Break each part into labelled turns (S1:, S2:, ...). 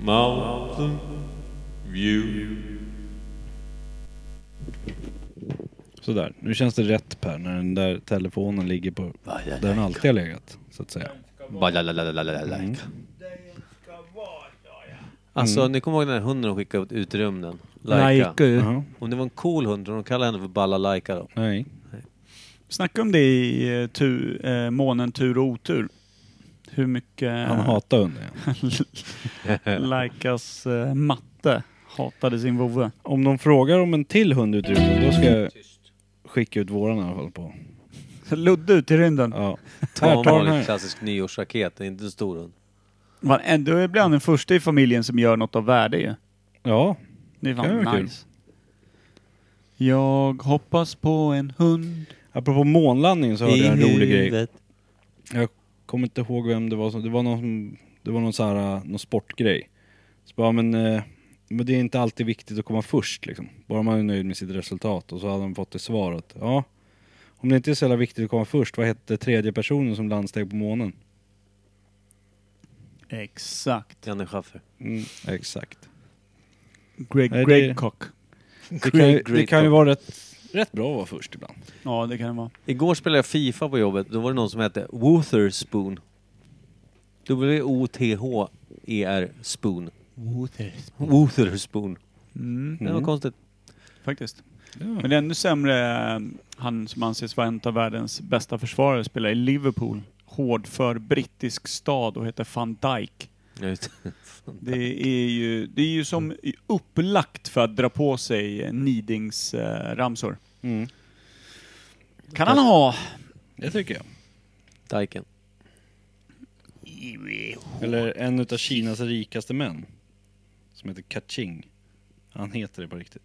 S1: Mountain View.
S2: Sådär, nu känns det rätt Per när den där telefonen ligger på där den alltid har legat. Så att säga.
S3: Balalalalalalalak.
S4: Alltså, ni kommer ihåg den här hunden de skickade ut- ut i rymden? Laika.
S3: Laika ju.
S2: Jaha.
S4: Om det var en cool hund, de kallade henne för Balalaika då.
S2: Nej.
S3: Snacka om det i eh, tu, eh, månen tur och otur. Hur mycket
S2: Han hatar hunden. ja.
S3: Laikas eh, matte hatade sin vovve.
S2: Om de frågar om en till hund ut i rymden, då ska jag skicka ut våran i alla fall på.
S3: Ludde ut i rymden.
S2: Ja. Här,
S4: Tom
S2: ta
S4: var
S2: den
S4: en
S2: här.
S4: klassisk nyårsraket, det är inte en stor hund.
S3: Man, eh, då blir han den första i familjen som gör något av värde ju.
S2: Ja,
S3: Det är
S2: Det
S3: fan
S2: var kul.
S3: nice. Jag hoppas på en hund.
S2: apropå månlandningen så hörde jag en rolig grej.
S4: huvudet.
S2: Kommer inte ihåg vem det var som, det var någon, som- det var någon så här, eh, någon sportgrej. Så bara, men, eh, men det är inte alltid viktigt att komma först liksom. Bara man är nöjd med sitt resultat. Och så hade de fått det svaret. Ja, om det inte är så jävla viktigt att komma först, vad hette tredje personen som landsteg på månen?
S3: Exakt.
S4: Janne Schaffer.
S2: Mm, exakt.
S3: Greg
S2: Nej, det-
S3: Gregcock.
S2: Det kan, ju-
S4: Great, great
S2: det kan ju
S4: dog.
S2: vara rätt, rätt bra att vara först ibland.
S3: Ja, det kan det vara.
S4: Igår spelade jag Fifa på jobbet, då var det någon som hette Wotherspoon. W-O-T-H-E-R Spoon. Wotherspoon.
S3: Mm,
S4: Det var konstigt.
S3: faktiskt. Men
S2: Ja.
S3: det är ännu sämre eh, han som anses vara en av världens bästa försvarare spelar i Liverpool. Hård för brittisk stad och heter van Dijk.
S4: Jag vet.
S3: Det är ju, det är ju som upplagt för att dra på sig Nidings-ramsor.
S2: Mm.
S3: Kan han ha?
S2: Det tycker jag.
S4: Daiken.
S2: Eller en utav Kinas rikaste män. Som heter Kaching. Han heter det på riktigt.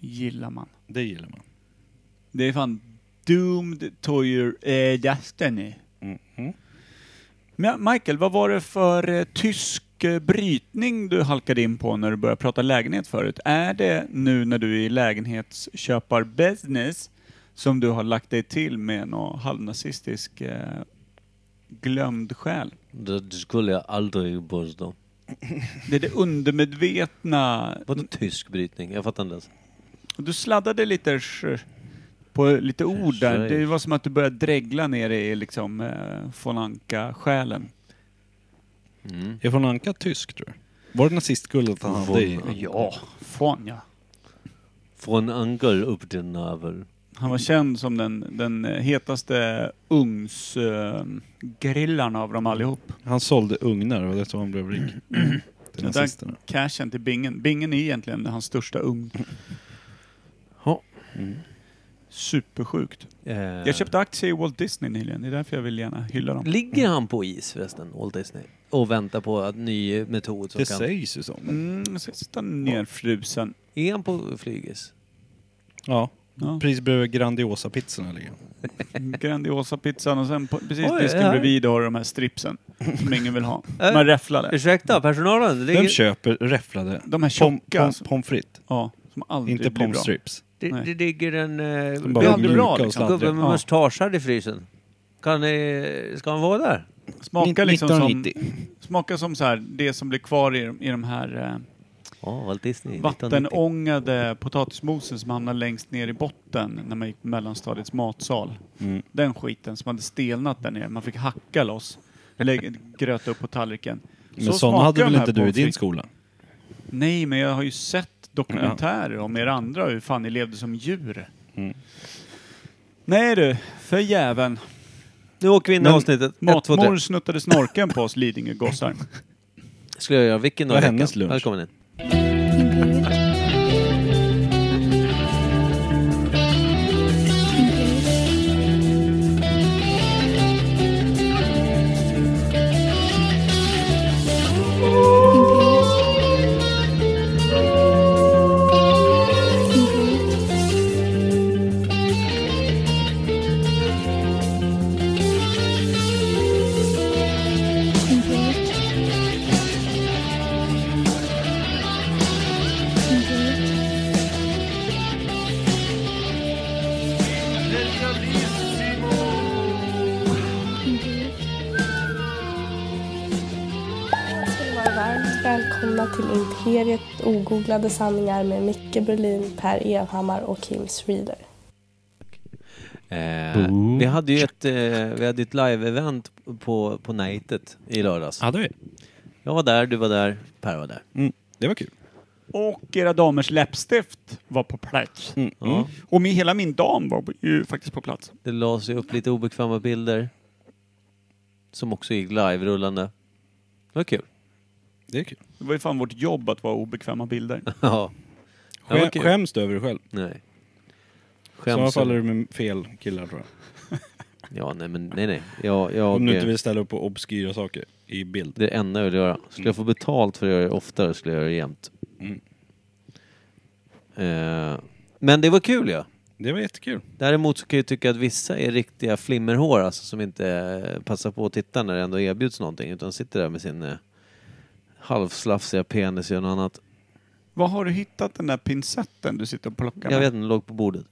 S3: Gillar man.
S2: Det gillar man.
S3: Det är fan Doomed to your eh, destiny.
S2: Mm. Mm.
S3: Men Michael, vad var det för eh, tysk eh, brytning du halkade in på när du började prata lägenhet förut? Är det nu när du är i lägenhetsköparbusiness som du har lagt dig till med någon halvnazistisk eh, glömd själ?
S4: Det skulle jag aldrig påstå.
S3: Det är det undermedvetna.
S4: Vadå tysk brytning? Jag fattar inte ens.
S3: Du sladdade lite sh- på lite ord där. Det var som att du började dregla ner i liksom eh, von Anka-själen.
S2: Är von Anka tysk tror du? Var det nazistguldet han hade i?
S4: Von-
S3: Ja, fan ja.
S4: Från Angel upp till navel.
S3: Han var känd som den, den hetaste ugnsgrillaren av dem allihop.
S2: Han sålde ugnar och det som han blev rik. Till
S3: Den där
S2: nazisterna.
S3: cashen till Bingen. Bingen är egentligen hans största ugn.
S4: Ja.
S3: Mm. Supersjukt.
S4: Eh,
S3: Jag köpte aktier i Walt Disney nyligen. Det är därför jag vill gärna hylla dem.
S4: Eh, Ligger han på is förresten, Walt Disney? Och väntar på en ny metod som
S2: Det
S4: kan...
S2: sägs ju som.
S3: Mm, jag ska sitta nerfrusen.
S4: Är han på flygis?
S2: Ja.
S3: Ja.
S2: Precis bredvid Grandiosa-pizzorna ligger han.
S3: Grandiosa-pizzan och sen på, precis
S4: Mm. Oj,
S3: disken
S4: ja.
S3: bredvid har du de här stripsen som ingen vill ha.
S4: Äh.
S3: Man räfflar det.
S4: Ursäkta, personalen? Det ligger...
S2: De köper räfflade
S3: De här
S2: pom-
S3: tjocka.
S2: pom-
S3: alltså.
S2: pommes frites.
S3: ja, som aldrig
S2: Inte
S3: blir
S2: pommes
S3: bra.
S2: strips.
S4: Det,
S3: Nej.
S4: det ligger en eh,
S2: bara
S4: gubbe-
S2: mjuka och
S4: gubbe
S2: sladdriga.
S4: med
S3: Ja.
S4: mustaschar i frysen. Kan ni, ska han vara där?
S3: Smakar liksom som,
S2: 1990.
S3: Smakar som så här, det som blir kvar i, i de här
S4: Ja, Walt Disney.
S3: eh,
S4: 1990.
S3: vattenångade potatismosen som hamnar längst ner i botten när man gick på mellanstadiets matsal.
S2: Mm.
S3: Den skiten som hade stelnat där nere. Man fick hacka loss. Lägg, gröta upp på tallriken.
S2: Men sådana
S3: smakar
S2: hade
S3: de
S2: väl
S3: här
S2: inte du i
S3: pommes
S2: din
S3: frites.
S2: skola?
S3: Nej, men jag har ju sett dokumentärer om er andra och hur fan ni levde som djur.
S2: Mm.
S3: Nej du, för jäveln.
S4: Nu åker vi in i
S2: Men
S4: avsnittet. Ett, två,
S3: Matmor
S4: tre.
S3: snuttade snorken på oss Lidingögossar.
S4: Skulle jag göra vilken
S2: Det
S4: dag
S2: var
S4: i veckan?
S2: hennes lunch.
S4: Välkommen in.
S5: Thank you. Varmt välkomna till Imperiet ogooglade sanningar med Micke Berlin, Per Evhammar och Kim Schreeder.
S4: Eh, vi hade ju ett, eh, vi hade ett live-event på, på nätet i lördags.
S2: Hade vi?
S4: Jag var där, du var där, Per var där.
S2: Mm. Det var kul.
S3: Och era damers läppstift var på plats.
S2: Mm.
S4: Ja.
S2: Mm.
S3: Och min, hela min dam var ju faktiskt på plats.
S4: Det lades ju upp lite obekväma bilder. Som också gick live-rullande. Det var kul.
S2: Det är kul.
S3: Det var ju fan vårt jobb att vara obekvämma bilder.
S4: ja. Ja,
S2: Skä,
S4: vad kul.
S2: Skäms du över dig själv?
S4: Nej.
S2: I sådana
S4: Skäms.
S2: fall är du med fel killar tror jag.
S4: Ja, nej men nej nej. Jag, jag,
S2: Om du inte vill ställa upp på obskyra saker i bild.
S4: Det är det enda jag vill göra. Skulle jag få betalt för att göra det oftare skulle jag göra det jämt.
S2: Mm.
S4: Eh, men det var kul ja.
S2: Det var jättekul.
S4: Däremot så kan jag tycka att vissa är riktiga flimmerhår alltså, som inte eh, passar på att titta när det ändå erbjuds någonting utan sitter där med sin eh, halvslafsiga penis och gör något annat.
S3: Vad har du hittat den där pincetten du sitter och plockar
S4: Jag
S3: med?
S4: vet inte, låg på bordet.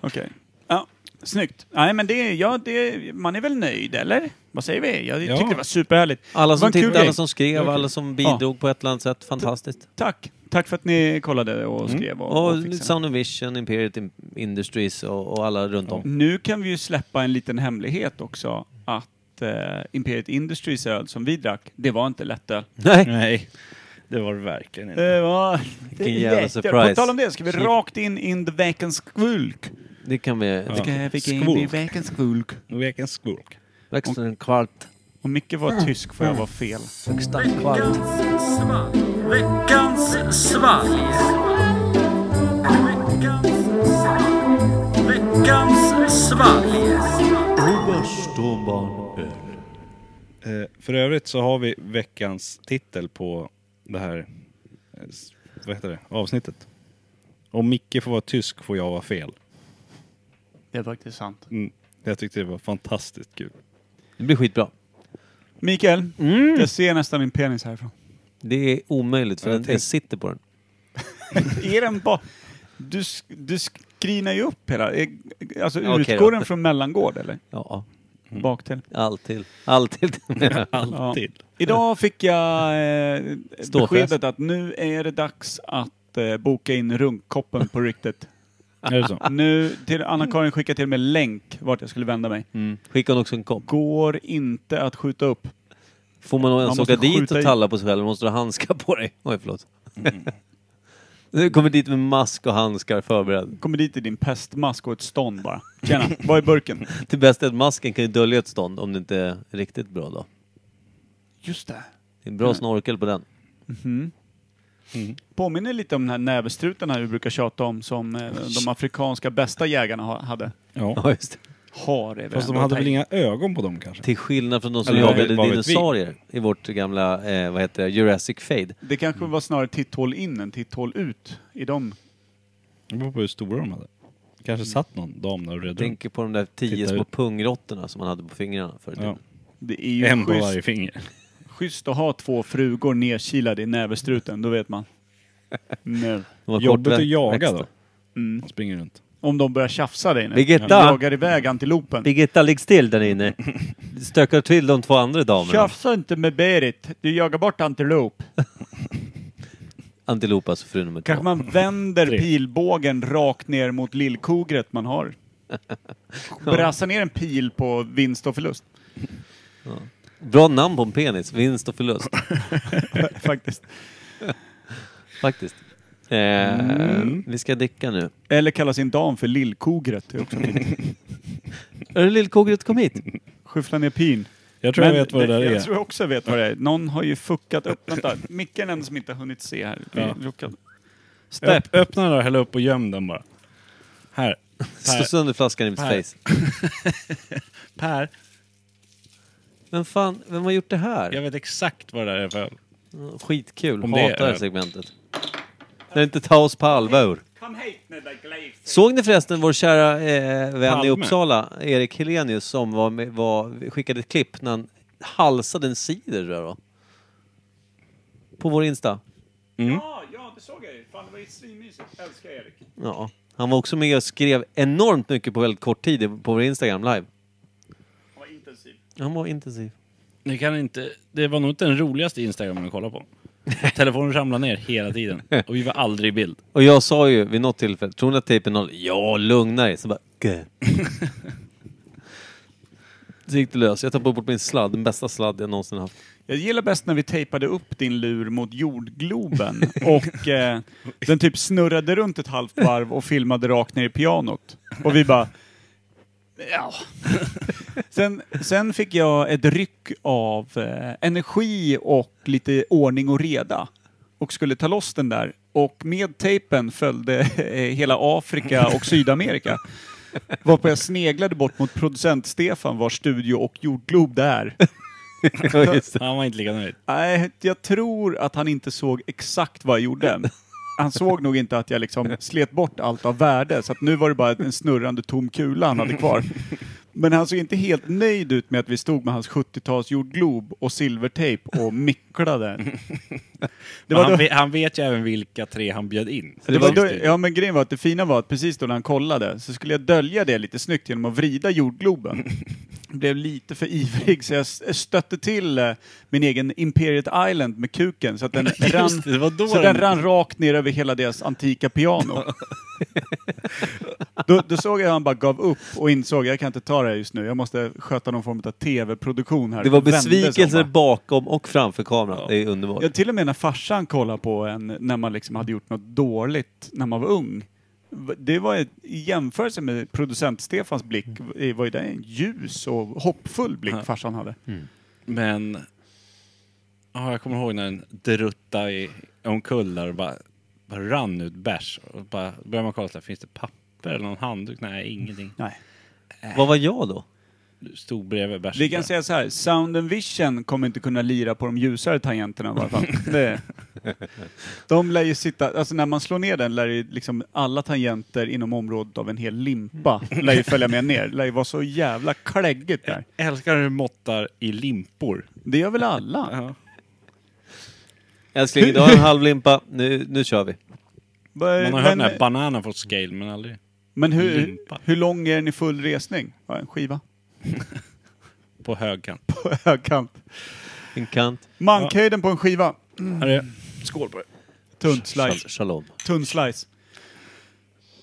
S3: Okej. Ja, snyggt. Nej men det, ja, det, man är väl nöjd eller? Vad säger vi? Jag
S2: Ja.
S3: tyckte det var superhärligt.
S4: Alla
S3: Det var
S4: som
S3: en kul
S4: tittade,
S3: grej.
S4: alla som skrev, alla som bidrog på ett eller annat sätt. Fantastiskt.
S3: Tack. Tack för att ni kollade och skrev och, och
S4: Och
S3: fixade.
S4: Sound of Vision, Imperiet In- Industries och, och alla runt om.
S3: Nu kan vi ju släppa en liten hemlighet också att eh, Imperiet Industries öl som vi drack, det var inte lättöl.
S4: Nej!
S2: Nej, det var det verkligen inte.
S3: Det var...
S4: Vilken jävla
S3: lättöl. På
S4: surprise.
S3: tal om det, ska vi
S4: Snyggt.
S3: rakt in in the veckans skvulk.
S4: Det kan vi...
S2: Ja.
S3: Ska jag fick in i
S2: Skvulk.
S3: veckans skvulk.
S2: Vilken skurk.
S4: Växeln kvart.
S3: Om Micke var tysk får jag vara fel.
S4: Högsta kvart.
S6: Veckans svalg. Veckans svalg. Veckans svalg.
S2: Eh, för övrigt så har vi veckans titel på det här eh, s- vad heter det? avsnittet. Om Micke får vara tysk får jag vara fel.
S3: Det är faktiskt sant.
S2: Mm. Jag tyckte det var fantastiskt kul.
S4: Det blir skitbra.
S3: Mikael, jag ser nästan din penis härifrån.
S4: Det är omöjligt för
S2: Jag
S4: den,
S2: tänkte-
S4: jag sitter på den.
S3: Är den bara... Du, sk- du skrinar ju upp hela... är- Alltså
S4: Okej då.
S3: utgår den från mellangård eller?
S4: Ja,
S3: Bak till.
S4: allt till. Allt till.
S2: Alltid.
S3: Idag fick jag eh,
S4: Ståfest.
S3: beskedet att nu är det dags att eh, boka in runkkoppen på riktigt.
S2: Är det så?
S3: Nu, till Anna-Karin skickade till mig länk vart jag skulle vända mig.
S4: Mm. Skickar hon också en kopp?
S3: Går inte att skjuta upp.
S4: Får man ens
S3: måste
S4: åka dit
S3: skjuta i-
S4: och talla på sig själv? Måste du ha handskar på dig? Oj, förlåt. Du kommer dit med mask och handskar förberedd.
S3: Kommer dit i din pestmask och ett stånd bara. Tjena, vad är burken?
S4: Det bästa är att masken kan ju dölja ett stånd om det inte är riktigt bra då.
S3: Just det.
S4: Det är en bra snorkel på den.
S3: Påminner lite om den här nävestruten här vi brukar tjata om som eh, de afrikanska bästa jägarna ha, hade.
S2: Ja.
S4: Ja, just det.
S3: Har det
S2: Fast de
S3: väl
S2: hade
S3: ändå.
S2: väl inga ögon på dem kanske?
S4: Till skillnad från de som
S2: Eller vad
S4: jagade
S2: vet- vad vet vi?
S4: dinosaurier i vårt gamla, eh, vad heter det, Jurassic
S2: Mm.
S4: Fade.
S3: Det kanske var snarare titthål in än titthål ut i dem.
S2: Det beror på hur stora de hade.
S3: Mm.
S2: Kanske satt någon dam där och
S4: Jag
S2: redde
S4: tänker på de där tio
S2: Titta
S4: små
S2: ut.
S4: pungrottorna som man hade på fingrarna förr i tiden.
S2: Ja.
S3: Det är ju
S2: En på
S3: schysst.
S2: varje finger.
S3: Schysst att ha två frugor nedkilade i nävestruten, då vet man. Nu.
S4: De var
S2: Jobbigt att
S4: kortväxt-
S2: jaga
S4: växta.
S2: då.
S3: Mm.
S2: Man springer runt.
S3: Om de börjar tjafsa dig nu.
S4: Birgitta!
S3: Jagar iväg antilopen.
S4: Birgitta, ligg still där inne. Stökar till de två andra damerna.
S3: Tjafsa inte med Berit, du jagar bort antilop.
S4: Antilop alltså fru nummer två.
S3: Kanske man vänder
S2: Tre.
S3: pilbågen rakt ner mot lillkogret man har. Brassa ner en pil på vinst och förlust.
S4: Bra namn på en penis. Vinst och förlust.
S3: Faktiskt.
S4: Faktiskt. Eh,
S2: Mm.
S4: Vi ska dricka nu.
S3: Eller kalla sin dam för lillkogret. Det är också fint.
S4: Är det lillkogret kom hit?
S3: Skyffla ner pin.
S2: Jag tror jag vet vad det där
S3: jag
S2: är.
S3: tror jag också vet vad det är. Någon har ju fuckat upp. Vänta, Micke är den enda som inte har hunnit se här. Vi
S2: Ja.
S3: ruckar.
S2: Öpp, öppna den där, häll upp och göm den bara. Här.
S4: Slå sönder flaskan i mitt
S2: Per.
S4: face.
S2: Per,
S4: Men fan, vem har gjort det här?
S2: jag vet exakt vad det där är för öl.
S4: Skitkul.
S2: Om det
S4: Hatar
S2: är
S4: det här
S2: öl.
S4: segmentet. När inte ta oss på allvar.
S3: Kom hit med dig, Gleif.
S4: Såg ni förresten vår kära eh, vän
S2: Palme.
S4: i Uppsala, Erik Helenius, som var med, var, skickade ett klipp när han halsade en cider tror jag då. På vår Insta.
S3: Ja, ja, det såg jag ju. Fan, det var ju svinmysigt. Älskar Erik.
S4: Ja. Han var också med och skrev enormt mycket på väldigt kort tid på vår Instagram live.
S3: Han var intensiv.
S4: Han var intensiv.
S2: Ni kan inte, det var nog inte den roligaste Instagramen att kolla på. Telefonen ramlade ner hela tiden och vi var aldrig i bild.
S4: Och jag sa ju vid något tillfälle, tror ni att tejpen håller? Ja, lugna dig. Så bara... "Gö." Så gick det lös. Jag tappade bort min sladd, den bästa sladd jag någonsin haft.
S3: Jag gillar bäst när vi tejpade upp din lur mot jordgloben och eh, den typ snurrade runt ett halvt varv och filmade rakt ner i pianot. Och vi bara... Ja. Sen, sen fick jag ett ryck av eh, energi och lite ordning och reda och skulle ta loss den där. Och med tejpen följde eh, hela Afrika och Sydamerika. Varpå jag sneglade bort mot producent Stefan vars studio och jordglob det är.
S2: Han var inte lika nöjd.
S3: Nej, jag tror att han inte såg exakt vad jag gjorde. Han såg nog inte att jag liksom slet bort allt av värde, så att nu var det bara en snurrande tom kula han hade kvar. Men han såg inte helt nöjd ut med att vi stod med hans 70-tals jordglob och silvertejp och micklade. Det
S2: Men
S3: var
S2: han,
S3: då-
S2: ve- han vet ju även vilka tre han bjöd in.
S3: det var då,
S2: Just det.
S3: ja men grejen var att det fina var att precis då när han kollade så skulle jag dölja det lite snyggt genom att vrida jordgloben. Blev lite för ivrig så jag s- stötte till eh, min egen Imperiet Island med kuken så att den, rann,
S2: det, det var då
S3: så
S2: den-
S3: den rann rakt ner över hela deras antika piano. då, då såg jag hur han bara gav upp och insåg jag kan inte ta det här just nu. Jag måste sköta någon form av tv-produktion här.
S4: Det var
S3: Vände sig om
S4: besvikelser
S3: bara.
S4: bakom och framför kameran. Det är underbart.
S3: Ja, till och med när farsan kollade på en när man liksom hade gjort något dåligt när man var ung. V- Det var ett, i jämförelse med producent Stefans blick
S2: Mm.
S3: v- var ju det en ljus och hoppfull blick farsan hade.
S2: Mm. Men... Ja, jag kommer ihåg när den druttade i- omkull där och bara, bara rann ut bärs. Och bara började man kolla så här, finns det papper eller någon handduk? Nej, ingenting.
S3: Nej.
S4: Vad var jag då?
S2: Du stod bredvid bärsen.
S3: Vi kan
S2: bara.
S3: säga så här, Sound and Vision kommer inte kunna lira på de ljusare tangenterna i varje fall. Det, de lär ju sitta, alltså när man slår ner den lär ju liksom alla tangenter inom området av en hel limpa
S2: Mm.
S3: lär ju följa med ner. Lär ju vara så jävla kläggigt där.
S2: Jag älskar hur du måttar i limpor.
S3: Det gör väl alla?
S4: Älskling, du har en halv limpa. Nu, nu kör vi.
S2: Man har hört den här bananen fått scale, men aldrig...
S3: Men hur,
S2: Limpa.
S3: hur lång är den i full resning? Ja, en skiva.
S2: På högkant.
S3: På högkant.
S4: En kant.
S3: Mankhöjden på en skiva.
S2: Här är- Skål på det.
S3: Tunt slice.
S4: Shal- Shalom.
S3: Tunn slice.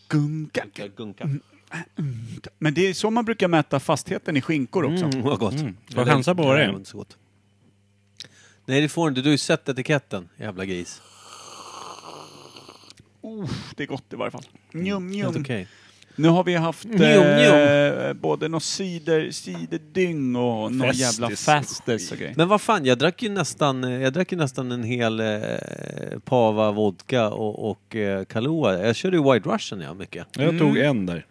S3: Gunka. Men det är så man brukar mäta fastheten i skinkor också.
S4: Mm, vad gott.
S2: Vad chansar på vad det
S4: Nej,
S2: är?
S4: var inte så gott. Nej, det får du inte. Du har ju sett etiketten, jävla gris.
S3: Det är gott i varje fall. Njum,
S4: Helt
S3: njum.
S4: okej.
S3: Nu har vi haft eh,
S4: njum.
S3: både något cider, ciderdyng och någon
S2: Festis
S3: jävla
S2: och
S3: Festis och grejer.
S4: Men vad fan, jag drack ju nästan, eh, jag drack ju nästan en hel eh, pava vodka och, och eh, Kahlua. Jag körde ju White Russian ja, mycket.
S2: Jag tog en där.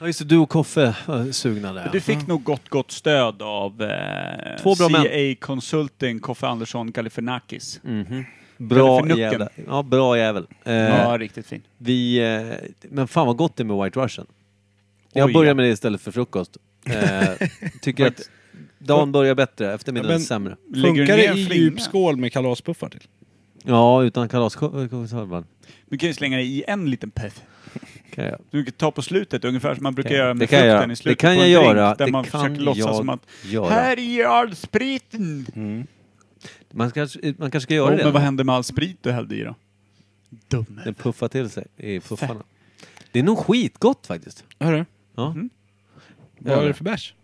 S4: Ja, just det, du och Koffe var sugna där.
S3: Du fick nog gott, gott stöd av eh,
S4: Två bra män.
S3: CA Consulting, Koffe Andersson, Galifianakis.
S4: bra
S3: Knucken.
S4: jävel. Ja, bra jävel. Eh,
S3: Ja, riktigt fin.
S4: Vi, eh, men fan vad gott det är med White Russian. Jag
S3: Oj, ja.
S4: börjar med det istället för frukost. Eh, tycker att dagen börjar bättre, eftermiddagen
S2: Ja, men-
S4: sämre.
S3: Lägger du
S2: Funkar
S3: ner
S2: det i
S3: flinga?
S2: djup skål med kalaspuffar till?
S4: Ja, utan kalaskorvar
S3: Du kan ju slänga det i en liten puff.
S4: kan jag.
S3: Du kan ta på slutet, ungefär som man brukar
S4: Okej,
S3: göra med
S4: det kan jag
S3: frukten
S4: göra.
S3: i slutet
S4: Det kan
S3: på
S4: jag
S3: en
S4: göra.
S3: drink. Där
S4: Det
S3: man
S4: kan
S3: försöker låtsas
S4: jag
S3: som att
S4: göra.
S3: här är all spriten!
S4: Man kanske, man kanske ska göra
S3: Ja,
S4: det.
S3: men vad hände med all sprit du hällde i då? Dum.
S4: Den puffar till sig i puffarna. Det är nog skitgott faktiskt. Mhm.
S2: Hörru,
S4: Ja.
S2: vad är det för bärs?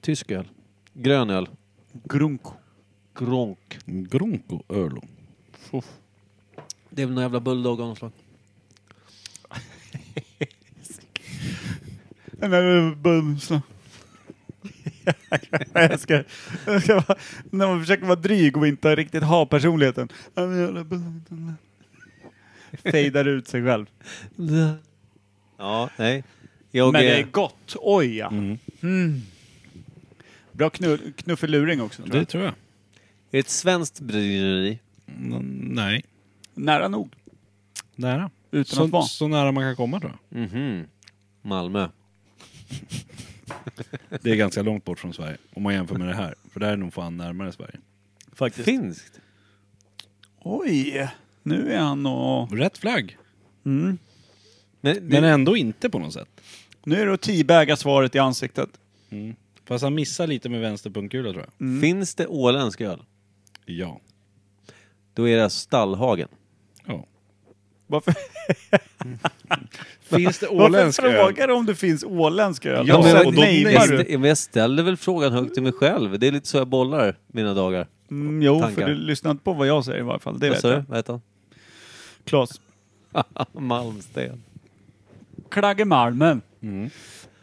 S4: Tysk öl. Grön öl.
S3: Grunko.
S4: Gronk.
S2: Gronko Ölo.
S4: Det är väl någon jävla bulldog av något slag.
S3: Den där bumsen. jag älskar jag ska vara, när man försöker vara dryg och inte riktigt ha personligheten. Ja, men jävla bumsen. Fejdar ut sig själv.
S4: Ja, nej. Jag,
S3: Men det är
S4: eh,
S3: gott. Oj ja. Mm. Bra knu- knuffeluring också tror
S2: Det
S3: jag.
S2: tror jag.
S4: är ett svenskt bryggeri.
S2: N- nej.
S3: Nära nog.
S2: Nära.
S3: Utan
S2: Så,
S3: att vara.
S2: så nära man kan komma tror jag.
S4: Mhm. Malmö.
S2: Det är ganska långt bort från Sverige. Om man jämför med det här. För det här är nog fan närmare Sverige.
S4: Finskt.
S3: Oj, nu är han och...
S2: Rätt flagg.
S3: Mm.
S4: Men, det,
S2: Men ändå inte på något sätt.
S3: Nu är det att tibäga svaret i ansiktet.
S2: Fast han missar lite med vänster punkkula tror jag.
S4: Finns det åländsk öl,
S2: Ja.
S4: då är det alltså Stallhagen.
S2: ja.
S3: Varför,
S2: Finns det åländsk
S3: varför
S2: öl?
S3: frågar du om det finns åländsk öl? Alltså,
S2: Ja,
S3: och
S4: men,
S3: sen
S4: jag-
S2: då
S3: nejvar
S4: jag,
S3: du.
S4: st- men jag ställer väl frågan högt till mig själv. Det är lite så jag bollar mina dagar.
S3: Mm, jo,
S4: Tankar.
S3: för du lyssnar inte på vad jag säger i varje fall. Det
S4: Vad
S3: vet
S4: sa du?
S3: jag.
S4: Vad heter han?
S3: Klas.
S4: Malmsten.
S3: Klagge Malmen.
S4: Mm.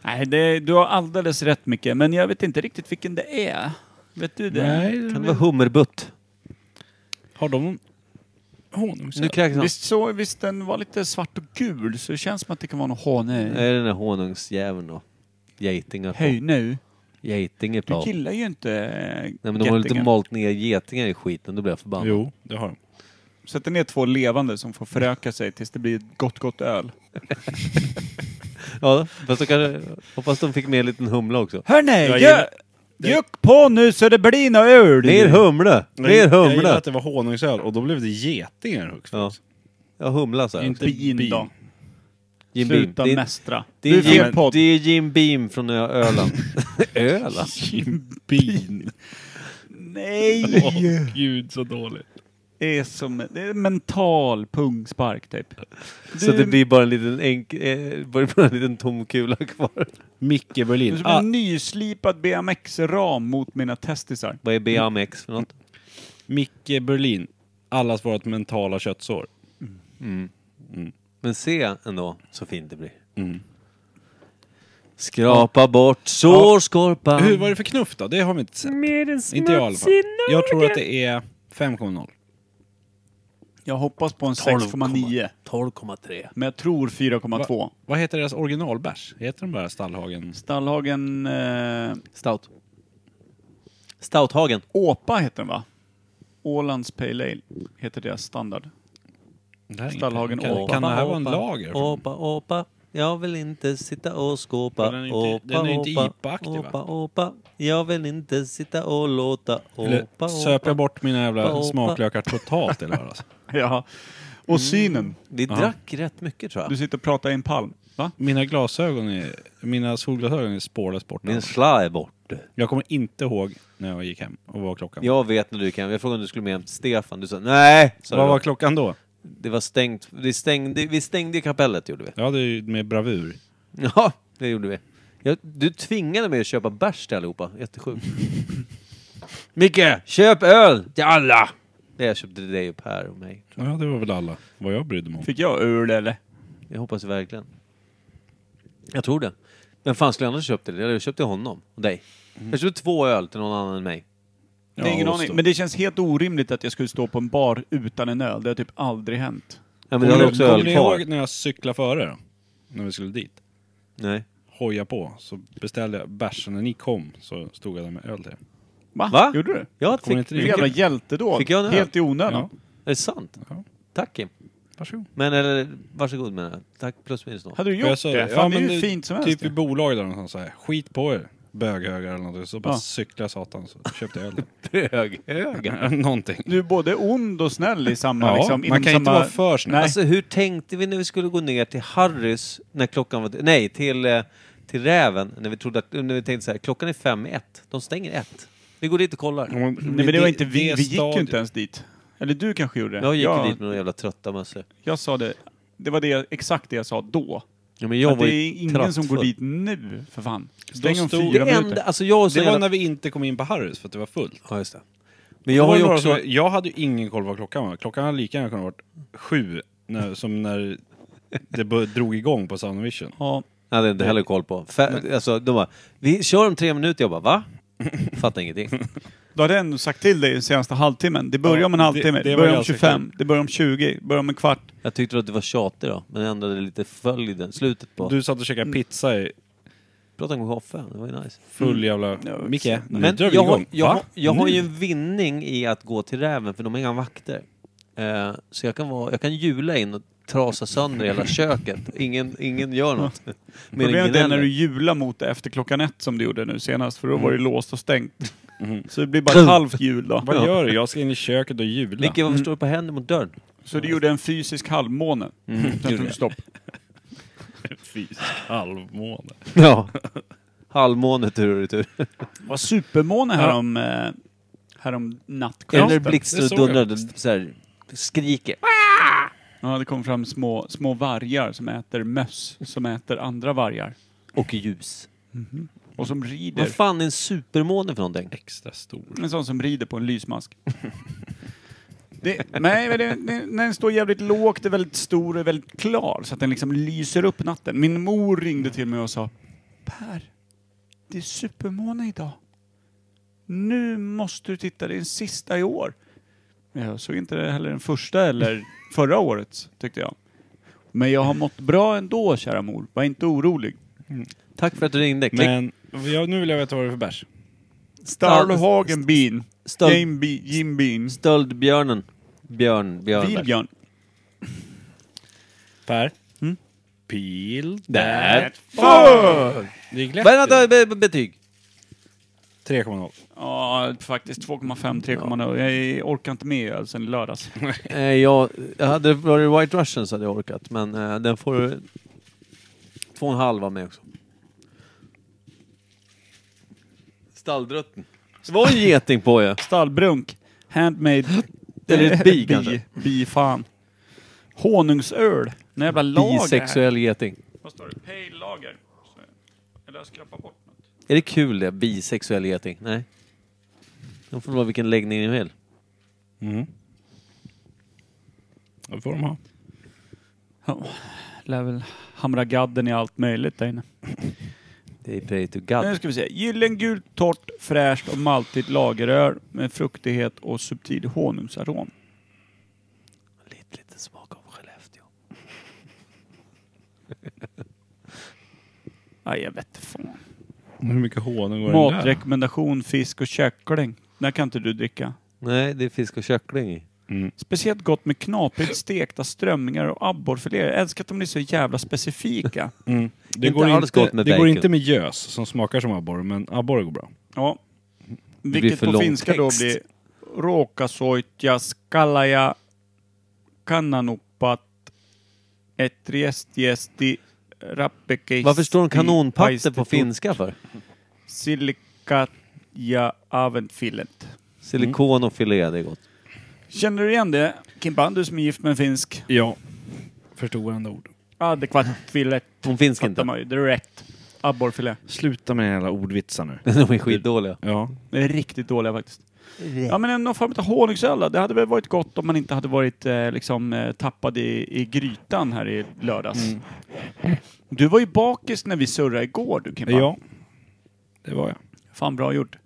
S3: Nej, det, du har alldeles rätt Micke, men jag vet inte riktigt vilken det är. Vet du det?
S4: Kan det vara hummerbutt?
S2: Har de honungsöl?
S4: Nu kräks han.
S3: Visst, så, visst den var lite svart och gul, så det känns som att det kan vara någon hane.
S4: Är det den där honungsjäveln då? Getingar
S3: Höj
S4: på.
S3: nu.
S4: Getingar
S3: Du
S4: på. Nej
S3: gillar ju inte eh, Nej,
S4: men de har lite malt ner getingar i skiten, då blir jag förbannad.
S2: Jo, det har de.
S3: Sätter ner två levande som får föröka sig tills det blir ett gott, gott öl.
S4: Ja, fast då kanske, hoppas de fick med en liten humla också.
S3: Hörni,
S2: gillar-
S3: juck på nu så det blir något öl!
S4: Mer humle! Mer
S2: jag gillar
S4: humle!
S2: att det var honungsöl och då blev det getingar högst.
S4: Ja. Ja, humla så här.
S2: Inte
S3: Bin,
S2: bin.
S3: då.
S4: Jim Beam.
S3: Sluta
S4: Det är-
S3: mästra.
S4: Det är,
S3: du är fel
S4: Jim,
S3: podd.
S4: det är Jim Beam från Ö- Öland. Öland?
S2: Bin.
S3: Nej!
S2: Åh, gud så dåligt.
S3: Det är som det är en mental pungspark typ.
S4: Så det blir bara en liten, enk, eh, bara bara en liten tom kula kvar.
S2: Micke
S3: Du är
S2: Berlin.
S3: som
S2: Ah,
S3: en nyslipad BMX-ram mot mina testisar.
S4: Vad är BMX för något?
S2: Micke Berlin. Allas vårt mentala köttsår.
S4: Men se ändå så fint det blir.
S2: Mm.
S4: Skrapa bort sårskorpan.
S2: Hur var det för knuff då? Det har vi inte sett. Inte jag i alla fall. Jag tror att det är 5,0.
S3: Jag hoppas på en 6,9.
S4: 12,3.
S3: Men jag tror 4,2.
S2: Vad heter deras originalbärs? Heter den bara Stallhagen?
S3: Stallhagen... Eh,
S4: Stout. Stouthagen.
S3: Åpa heter den va? Ålands Pale Ale heter deras standard.
S2: Det här är inte-
S3: Stallhagen
S2: kan,
S3: Åpa.
S2: kan det här vara en
S4: Åpa,
S2: lager?
S4: Åpa, åpa. Jag vill inte sitta och skåpa.
S2: Den är inte-
S4: åpa,
S2: den är inte
S4: åpa,
S2: IPA-aktig, va?
S4: Åpa, åpa. Jag vill inte sitta och låta.
S2: Eller
S4: Åpa,
S2: söp jag
S4: åpa.
S2: bort mina
S4: Åpa,
S2: jävla
S4: åpa.
S2: smaklökar totalt eller vad alltså?
S3: Ja. Och synen.
S4: Vi drack rätt mycket tror
S3: Du
S4: jag.
S3: sitter och pratar i en palm. Va?
S2: Mina glasögon är, mina solglasögon är spårlöst borta.
S4: Min sla är borta.
S2: Jag kommer inte ihåg när jag gick hem och vad var klockan.
S4: Jag vet när du kan. Jag frågade om du skulle med hem till Stefan. Du sa nej. Sa
S2: vad
S4: du
S2: var
S4: då.
S2: klockan då?
S4: det var stängt. Vi stängde, vi stängde kapellet gjorde vi.
S2: Ja, det är ju med bravur.
S4: Ja, det gjorde vi. Jag, du tvingade mig att köpa bärs till allihopa. Jättesjukt. Micke, köp öl till alla! Det jag köpte till dig och Per och mig.
S2: Ja, det var väl alla. Vad jag brydde mig om.
S3: Fick jag öl eller?
S4: Jag hoppas verkligen. Jag tror det. Men fan skulle jag annars köpt det? Jag köpte honom och dig. Jag köpte två öl till någon annan än mig.
S3: Det är ingen
S2: och
S3: aning.
S2: stå-
S3: Men det känns helt orimligt att jag skulle stå på en bar utan en öl. Det har typ aldrig hänt.
S4: Ja, men jag hade också
S2: Kommer
S4: öl
S2: ni
S4: kvar.
S2: ihåg när jag cyklade före då? När vi skulle dit?
S4: Nej.
S2: Hoja på, så beställde jag bärs och när ni kom så stod jag där med öl till er.
S3: Va?
S4: Va?
S3: Gjorde du?
S4: Jag
S2: Kommer
S4: fick...
S2: inte
S3: Du
S2: ni-
S4: Är
S2: Vilken-
S3: jävla hjältedåd.
S4: Fick jag en öl?
S3: Helt i onödan.
S2: Ja,
S4: det sant?
S2: Ja.
S4: Tack Kim.
S2: varsågod.
S4: Men eller, varsågod menar jag. Tack plus minus noll.
S3: Hade du
S2: Och
S3: gjort
S2: sa
S3: det? Fan, det är ju fint som helst.
S2: Typ vid bolaget där någonstans så här, skit på er böghögar eller något. Så bara
S3: Ja.
S2: cyklade jag satan så köpte jag öl.
S4: Böghögen.
S2: Någonting.
S3: Du är både ond och snäll i samma...
S2: Ja,
S3: liksom,
S2: man
S3: inom
S2: kan inte
S3: samma...
S2: vara för snäll.
S3: Nej.
S4: Alltså hur tänkte vi när vi skulle gå ner till Harrys när klockan var... Nej, till, eh, till Räven. När vi, trodde att, när vi tänkte så här, klockan är fem i ett. De stänger ett. Vi går dit och
S2: Mm.
S4: kollar.
S3: Nej, men det var inte
S2: det
S3: vi. Vi gick ju
S2: stadiet-
S3: inte ens dit. Eller du kanske gjorde det.
S4: Jag gick
S3: jag,
S4: ju dit med några jävla trötta mössor.
S3: jag sa det. Det var det, exakt det jag sa då.
S4: Ja, men jag
S3: att det
S4: var
S3: är
S4: ju
S3: ingen som går dit nu, för fan. Stäng om
S2: stod-
S4: Det
S3: fyra minuter.
S4: enda, alltså jag och så
S2: Det var
S4: jävla...
S2: när vi inte kom in på Harrys för att det var fullt.
S4: Ja, just det. Men jag har ju
S2: Det var några
S4: också...
S2: som- jag hade ju ingen koll på vad klockan var. Klockan hade lika gärna kunnat varit sju, när, som när det bör- drog igång på Soundvision.
S3: Ja.
S4: Jag hade inte heller koll på. Fä... Alltså, de bara, vi kör om tre minuter. Jag bara, va? Fattar ingenting.
S3: Då hade jag ändå sagt till dig den senaste halvtimmen. Det börjar
S2: Ja,
S3: om en
S2: det-
S3: halvtimme,
S2: det
S3: det,
S2: var
S3: börjar om
S2: ganska
S3: 25, det börjar om 20, det börjar om en kvart.
S4: Jag tyckte att det var tjatig då, men jag ändrade lite följden, slutet på... Du...
S2: Du satt och
S4: Mm.
S2: käkade pizza i
S4: Pratade om kaffe, det var ju nice.
S2: full jävla...
S3: Ja,
S2: Micke, nu
S4: Mm. Men
S2: drar vi
S4: jag, har,
S2: igång.
S4: jag,
S2: Va?
S4: har- jag har
S2: Nu?
S4: ju en vinning i att gå till räven för de har inga vakter. Eh, så jag kan, vara, jag kan jula in och trasa sönder hela köket. Ingen, ingen gör något. Mer än
S3: Problemet är när
S4: gnäller.
S3: du hjular mot det efter klockan ett som du gjorde nu senast, för då var det låst och stängt. Så det blir bara ett halvt hjul då.
S2: Mm. Vad gör du? Jag ska in i köket och jula.
S4: Micke, varför står du på händer mot dörren?
S3: Så du gjorde en fysisk halvmåne. Sen tog det stopp.
S2: Fys, halvmåne.
S4: Ja. halvmåne tur och retur.
S3: Det var supermåne härom, eh, härom nattkvällen.
S4: Eller
S2: det
S4: blixten
S2: såg jag
S4: dundrade så här, skriker.
S3: Ja, det kom fram små, små vargar som äter möss, som äter andra vargar.
S4: Och ljus.
S3: Och som rider.
S4: Vad fan är en supermåne för någonting?
S2: Extra stor.
S3: En sån som rider på en lysmask. Det, nej, men det, det, när den står jävligt lågt, är väldigt stor och väldigt klar så att den liksom lyser upp natten. Min mor ringde till mig och sa Per, det är supermåne idag. Nu måste du titta, det är den sista i år. Men Jag såg inte det heller den första eller förra årets, tyckte jag. Men jag har mått bra ändå, kära mor. Var inte orolig.
S4: Tack för att du ringde. Klick.
S2: Men ja, nu vill jag veta vad det är för bärs.
S3: Starlhagen Bean.
S4: Stöld,
S3: Jim Bean. Jim Bean.
S4: Mm. stöldbjörnen. Björn, björn.
S3: Vilbjörn.
S2: Per? Peel
S4: Mm. Där.
S2: Det gick lätt.
S4: Vänta, be- be- betyg.
S2: 3,0.
S3: Ja, faktiskt 2,5, 3,0. Jag orkar inte med öl sen i lördags.
S4: Eh, jag, jag hade varit White Russian så hade jag orkat, men eh, den får du... Två och en halv av mig också. Stalldrutten. Det var en geting på ju.
S3: Stallbrunk. Handmade.
S4: Eller ett bi, kanske.
S3: Bi, fan. Honungsöl. Den jävla lager.
S4: Bisexuell geting.
S3: Vad står det? Pale lager. Så- Eller jag skrapar bort något.
S4: Är det kul det? Bisexuell geting? Nej. De får vara vilken läggning ni vill.
S2: Mm. Ja, Det får de ha.
S3: Lär väl hamra gadden i allt möjligt där inne.
S4: Det är pray to
S3: Nu
S4: God.
S3: ska vi se. Gyllengult, torrt, fräscht och maltigt lageröl med fruktighet och subtil honungsarom.
S4: Lite, lite smak av Skellefteå.
S3: Aj, jag vet fan.
S2: Hur mycket honung var det där?
S3: Matrekommendation, fisk och kyckling. Den här kan inte du dricka.
S4: Nej, det är fisk och kyckling i.
S3: Speciellt gott med knaprigt stekta strömmingar och abborrfiléer. Jag älskar att de är så jävla specifika.
S2: Mm. Det,
S4: Inte
S2: går,
S4: alls
S2: inte,
S4: gott med
S2: det går
S4: bacon.
S2: inte med gös som smakar som abborre, men abborre går bra.
S3: Ja.
S4: blir
S3: Vilket
S4: för
S3: på
S4: lång
S3: finska då
S4: text.
S3: blir råkasoitja skalaja kannanuppat etriestjesti rappekeisti
S4: Varför står de kanonpatte på
S3: paistetut,
S4: finska för?
S3: Silikatja aventfillet.
S4: Silikon och filé, det är gott.
S3: Känner du igen det? Kimpan, du som är gift med en finsk.
S2: Ja. Förstorande ord.
S3: Adekvat fillet.
S4: Hon finns
S3: Fattar
S4: inte.
S3: man ju direkt. Abborrfilé.
S2: Sluta med alla ordvitsar nu.
S4: De är skitdåliga.
S2: Ja.
S3: De är riktigt dåliga faktiskt. Ja men en- någon form av honungsöl då. Det hade väl varit gott om man inte hade varit eh, liksom eh, tappad i, i grytan här i lördags. Du var ju bakis när vi surrade igår du Kimpa.
S2: Ja. Det var jag.
S3: Fan bra gjort.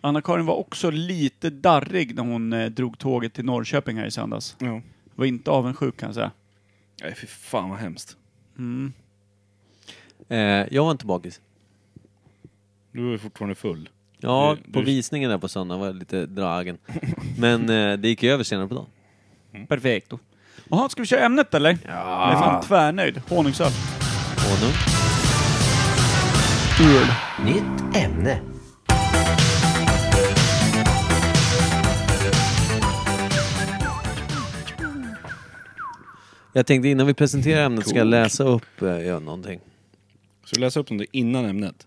S3: Anna-Karin var också lite darrig när hon eh, drog tåget till Norrköping här i söndags.
S2: Ja.
S3: Var inte avundsjuk kan jag säga. Mm.
S2: Nej, fy fan vad hemskt.
S4: Eh, jag var inte bakis.
S2: Du är fortfarande full.
S4: Ja,
S2: Du-
S4: på
S2: du-
S4: visningen där på söndagen var jag lite dragen. Men eh, det gick ju över senare på dagen.
S3: Perfekt. Jaha, ska vi köra ämnet eller? Ja. Jag är fan tvärnöjd. Honungsöl.
S4: Och nu?
S3: Öl.
S7: Nytt ämne.
S4: Jag tänkte innan vi presenterar ämnet ska jag läsa upp eh, ja, någonting.
S2: Så du läser upp något innan ämnet?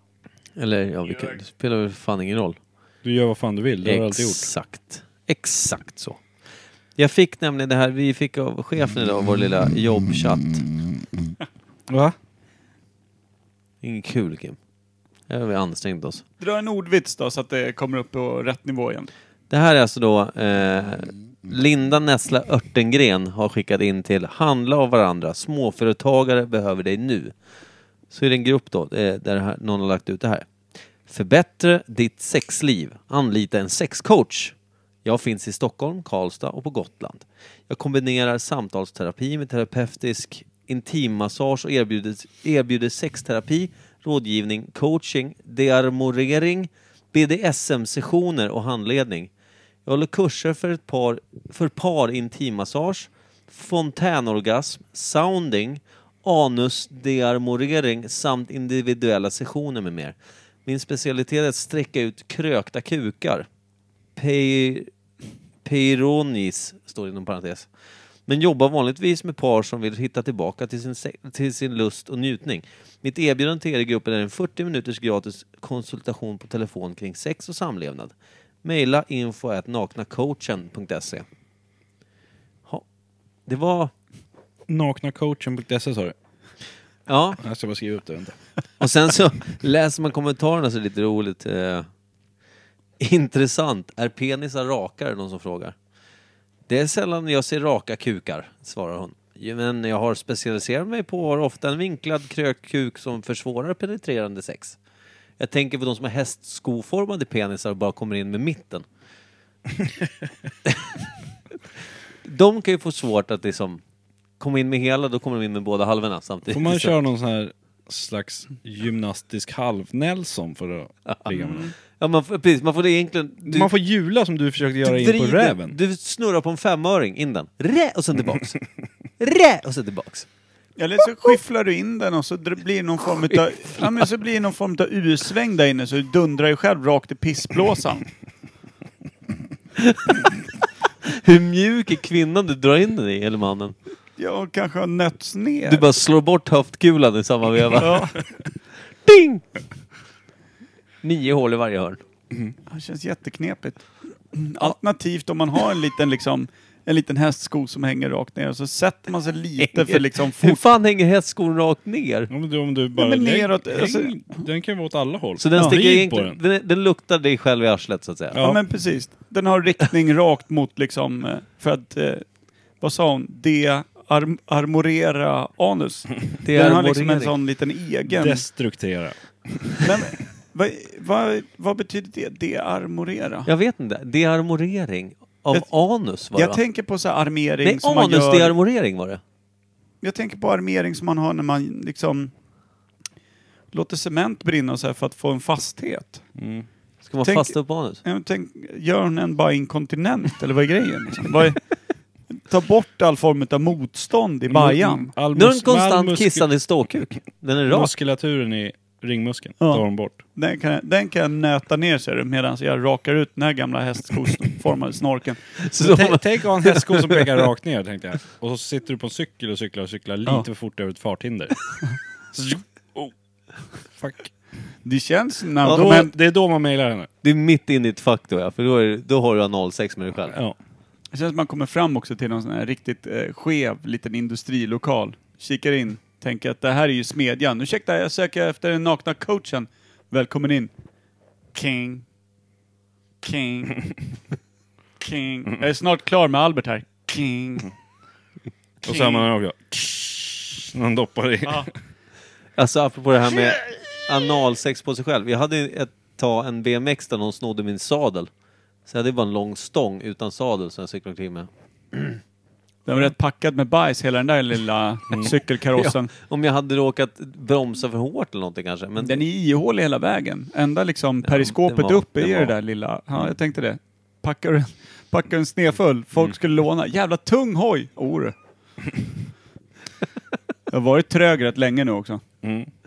S4: Eller ja, vi kan, det spelar väl fan ingen roll.
S2: Du gör vad fan du vill, det har du alltid gjort.
S4: Exakt. Exakt så. Jag fick nämligen det här, vi fick av chefen idag, vår lilla jobbchatt.
S2: Va?
S4: Ingen kul Kim. Här har vi ansträngt oss.
S3: Dra en ordvits då så att det kommer upp på rätt nivå igen.
S4: Det här är alltså då eh, Linda Nessla Örtengren har skickat in till Handla av varandra, småföretagare behöver dig nu. Så är det en grupp då, eh, där det här, någon har lagt ut det här. Förbättra ditt sexliv, anlita en sexcoach. Jag finns i Stockholm, Karlstad och på Gotland. Jag kombinerar samtalsterapi med terapeutisk intimmassage och erbjuder, erbjuder sexterapi, rådgivning, coaching, dearmorering, BDSM-sessioner och handledning. Jag håller kurser för, ett par, för par intimmassage, fontänorgasm, sounding, anusdearmorering samt individuella sessioner med mer. Min specialitet är att sträcka ut krökta kukar. Pe- Peironis står inom parentes. men jobbar vanligtvis med par som vill hitta tillbaka till sin, se- till sin lust och njutning. Mitt erbjudande till er i gruppen är en 40 minuters gratis konsultation på telefon kring sex och samlevnad. Maila info@naknacoachen.se. Ja, Det var...
S2: Naknacoachen.se sa du?
S4: Ja,
S2: Jag ska bara skriva upp det, vänta.
S4: och sen så läser man kommentarerna så är det lite roligt. Eh, intressant. Är penisar rakare? Någon som frågar. Det är sällan jag ser raka kukar, svarar hon. "Jo, Men jag har specialiserat mig på och har ofta en vinklad krökt kuk som försvårar penetrerande sex. Jag tänker på de som har hästskoformade penisar och bara kommer in med mitten. de kan ju få svårt att liksom komma in med hela, då kommer de in med båda halvorna samtidigt.
S2: Får man köra någon sån här slags gymnastisk halv-Nelson för att ligga med någon?
S4: Ja, man, får- precis, man får det egentligen... Du,
S2: Man får hjula som du försökte göra
S4: du
S2: in på
S4: vrider-
S2: räven.
S4: Du snurrar på en femöring in den. Rä! Och sen tillbaks. Rä! Och sen tillbaks.
S3: Eller så skifflar du in den och så dr- blir det någon form utav, ja, men så blir det någon form av U-sväng där inne så du dundrar ju själv rakt i pissblåsan.
S4: Hur mjuk är kvinnan du drar in den i, eller mannen?
S3: Ja, och kanske har nötts ner.
S4: Du bara slår bort höftkulan i samma veva.
S3: Ja,
S4: Ding! Nio hål i varje hörn.
S3: det känns jätteknepigt. Alternativt om man har en liten liksom, en liten hästsko som hänger rakt ner och så sätter man sig lite för liksom
S4: Hur
S3: fort.
S4: fan hänger hästskon rakt ner?
S2: Om du, om du bara...
S3: men
S2: lägg-
S3: neråt,
S2: häng-
S3: alltså-
S2: den kan ju vara åt alla håll.
S4: Så den sticker
S2: Vrid på
S4: egentligen...
S2: den.
S4: Den. den luktar dig själv i arslet, så att säga.
S3: Ja. men precis. Den har riktning rakt mot liksom, eh, för att, eh, vad sa hon, de arm- armorera anus.
S4: Det
S3: Den har
S4: armorering.
S3: liksom en sån liten egen.
S2: Destruktera.
S3: Men, vad, vad, vad betyder det? Dearmorera?
S4: Jag vet inte. Dearmorering av
S3: Jag-
S4: anus, var det
S3: jag
S4: va?
S3: tänker på så här armering
S4: Nej,
S3: som man gör...
S4: anusdearmorering var det.
S3: Jag tänker på armering som man har när man liksom låter cement brinna och så här för att få en fasthet.
S4: Ska man
S3: Tänk-
S4: fasta upp anus?
S3: Jag tänk, gör den bara inkontinent eller vad är grejen? Liksom? Vad är, ta bort all form av motstånd i bajan.
S2: All
S4: Nu har
S2: mus-
S4: den konstant
S2: all musk-
S4: kissande ståkuk. Den är rak.
S2: Muskulaturen i ringmuskeln
S3: Ja.
S2: tar de bort.
S3: Den kan, jag- den kan jag nöta ner ser du medan jag rakar ut den här gamla hästskoformade snorken.
S4: Så
S2: Tä- Tänk att ha en hästsko som pekar rakt ner tänkte jag. Och så sitter du på en cykel och cyklar och cyklar lite
S3: Ja.
S2: för fort över ett farthinder. Så- oh. Fuck.
S3: Det känns när
S2: Ja,
S3: de
S2: då,
S3: kom hem
S2: det är då man mejlar henne.
S4: det är mitt inne i ett fack då ja, för då, är, då har du analsex med dig själv.
S2: Ja.
S3: Det känns som man kommer fram också till någon sån här riktigt eh, skev liten industrilokal. Kikar in, tänker att det här är ju smedjan. Ursäkta, jag söker efter den nakna coachen. Välkommen in. King. King. King. Jag är snart klar med Albert här. King.
S2: Och så har man också... När han doppar i.
S4: Alltså apropå det här med analsex på sig själv. Jag hade ett tag en BMX där någon snodde min sadel. Så jag hade bara en lång stång utan sadel som jag cyklade omkring med.
S3: Den var rätt packad med bajs, hela den där lilla cykelkarossen.
S4: Om jag hade råkat bromsa för hårt eller någonting kanske. Men
S3: Den är ihålig hela vägen. Ända liksom periskopet
S4: det var-
S3: upp är
S4: det
S3: ju det
S4: var. Mm.
S3: där lilla. Ja, jag tänkte det. Packar du, packar du en snedfull, folk
S4: Mm.
S3: skulle låna. Jävla tung hoj! Oh, du. jag har varit trög rätt länge nu också.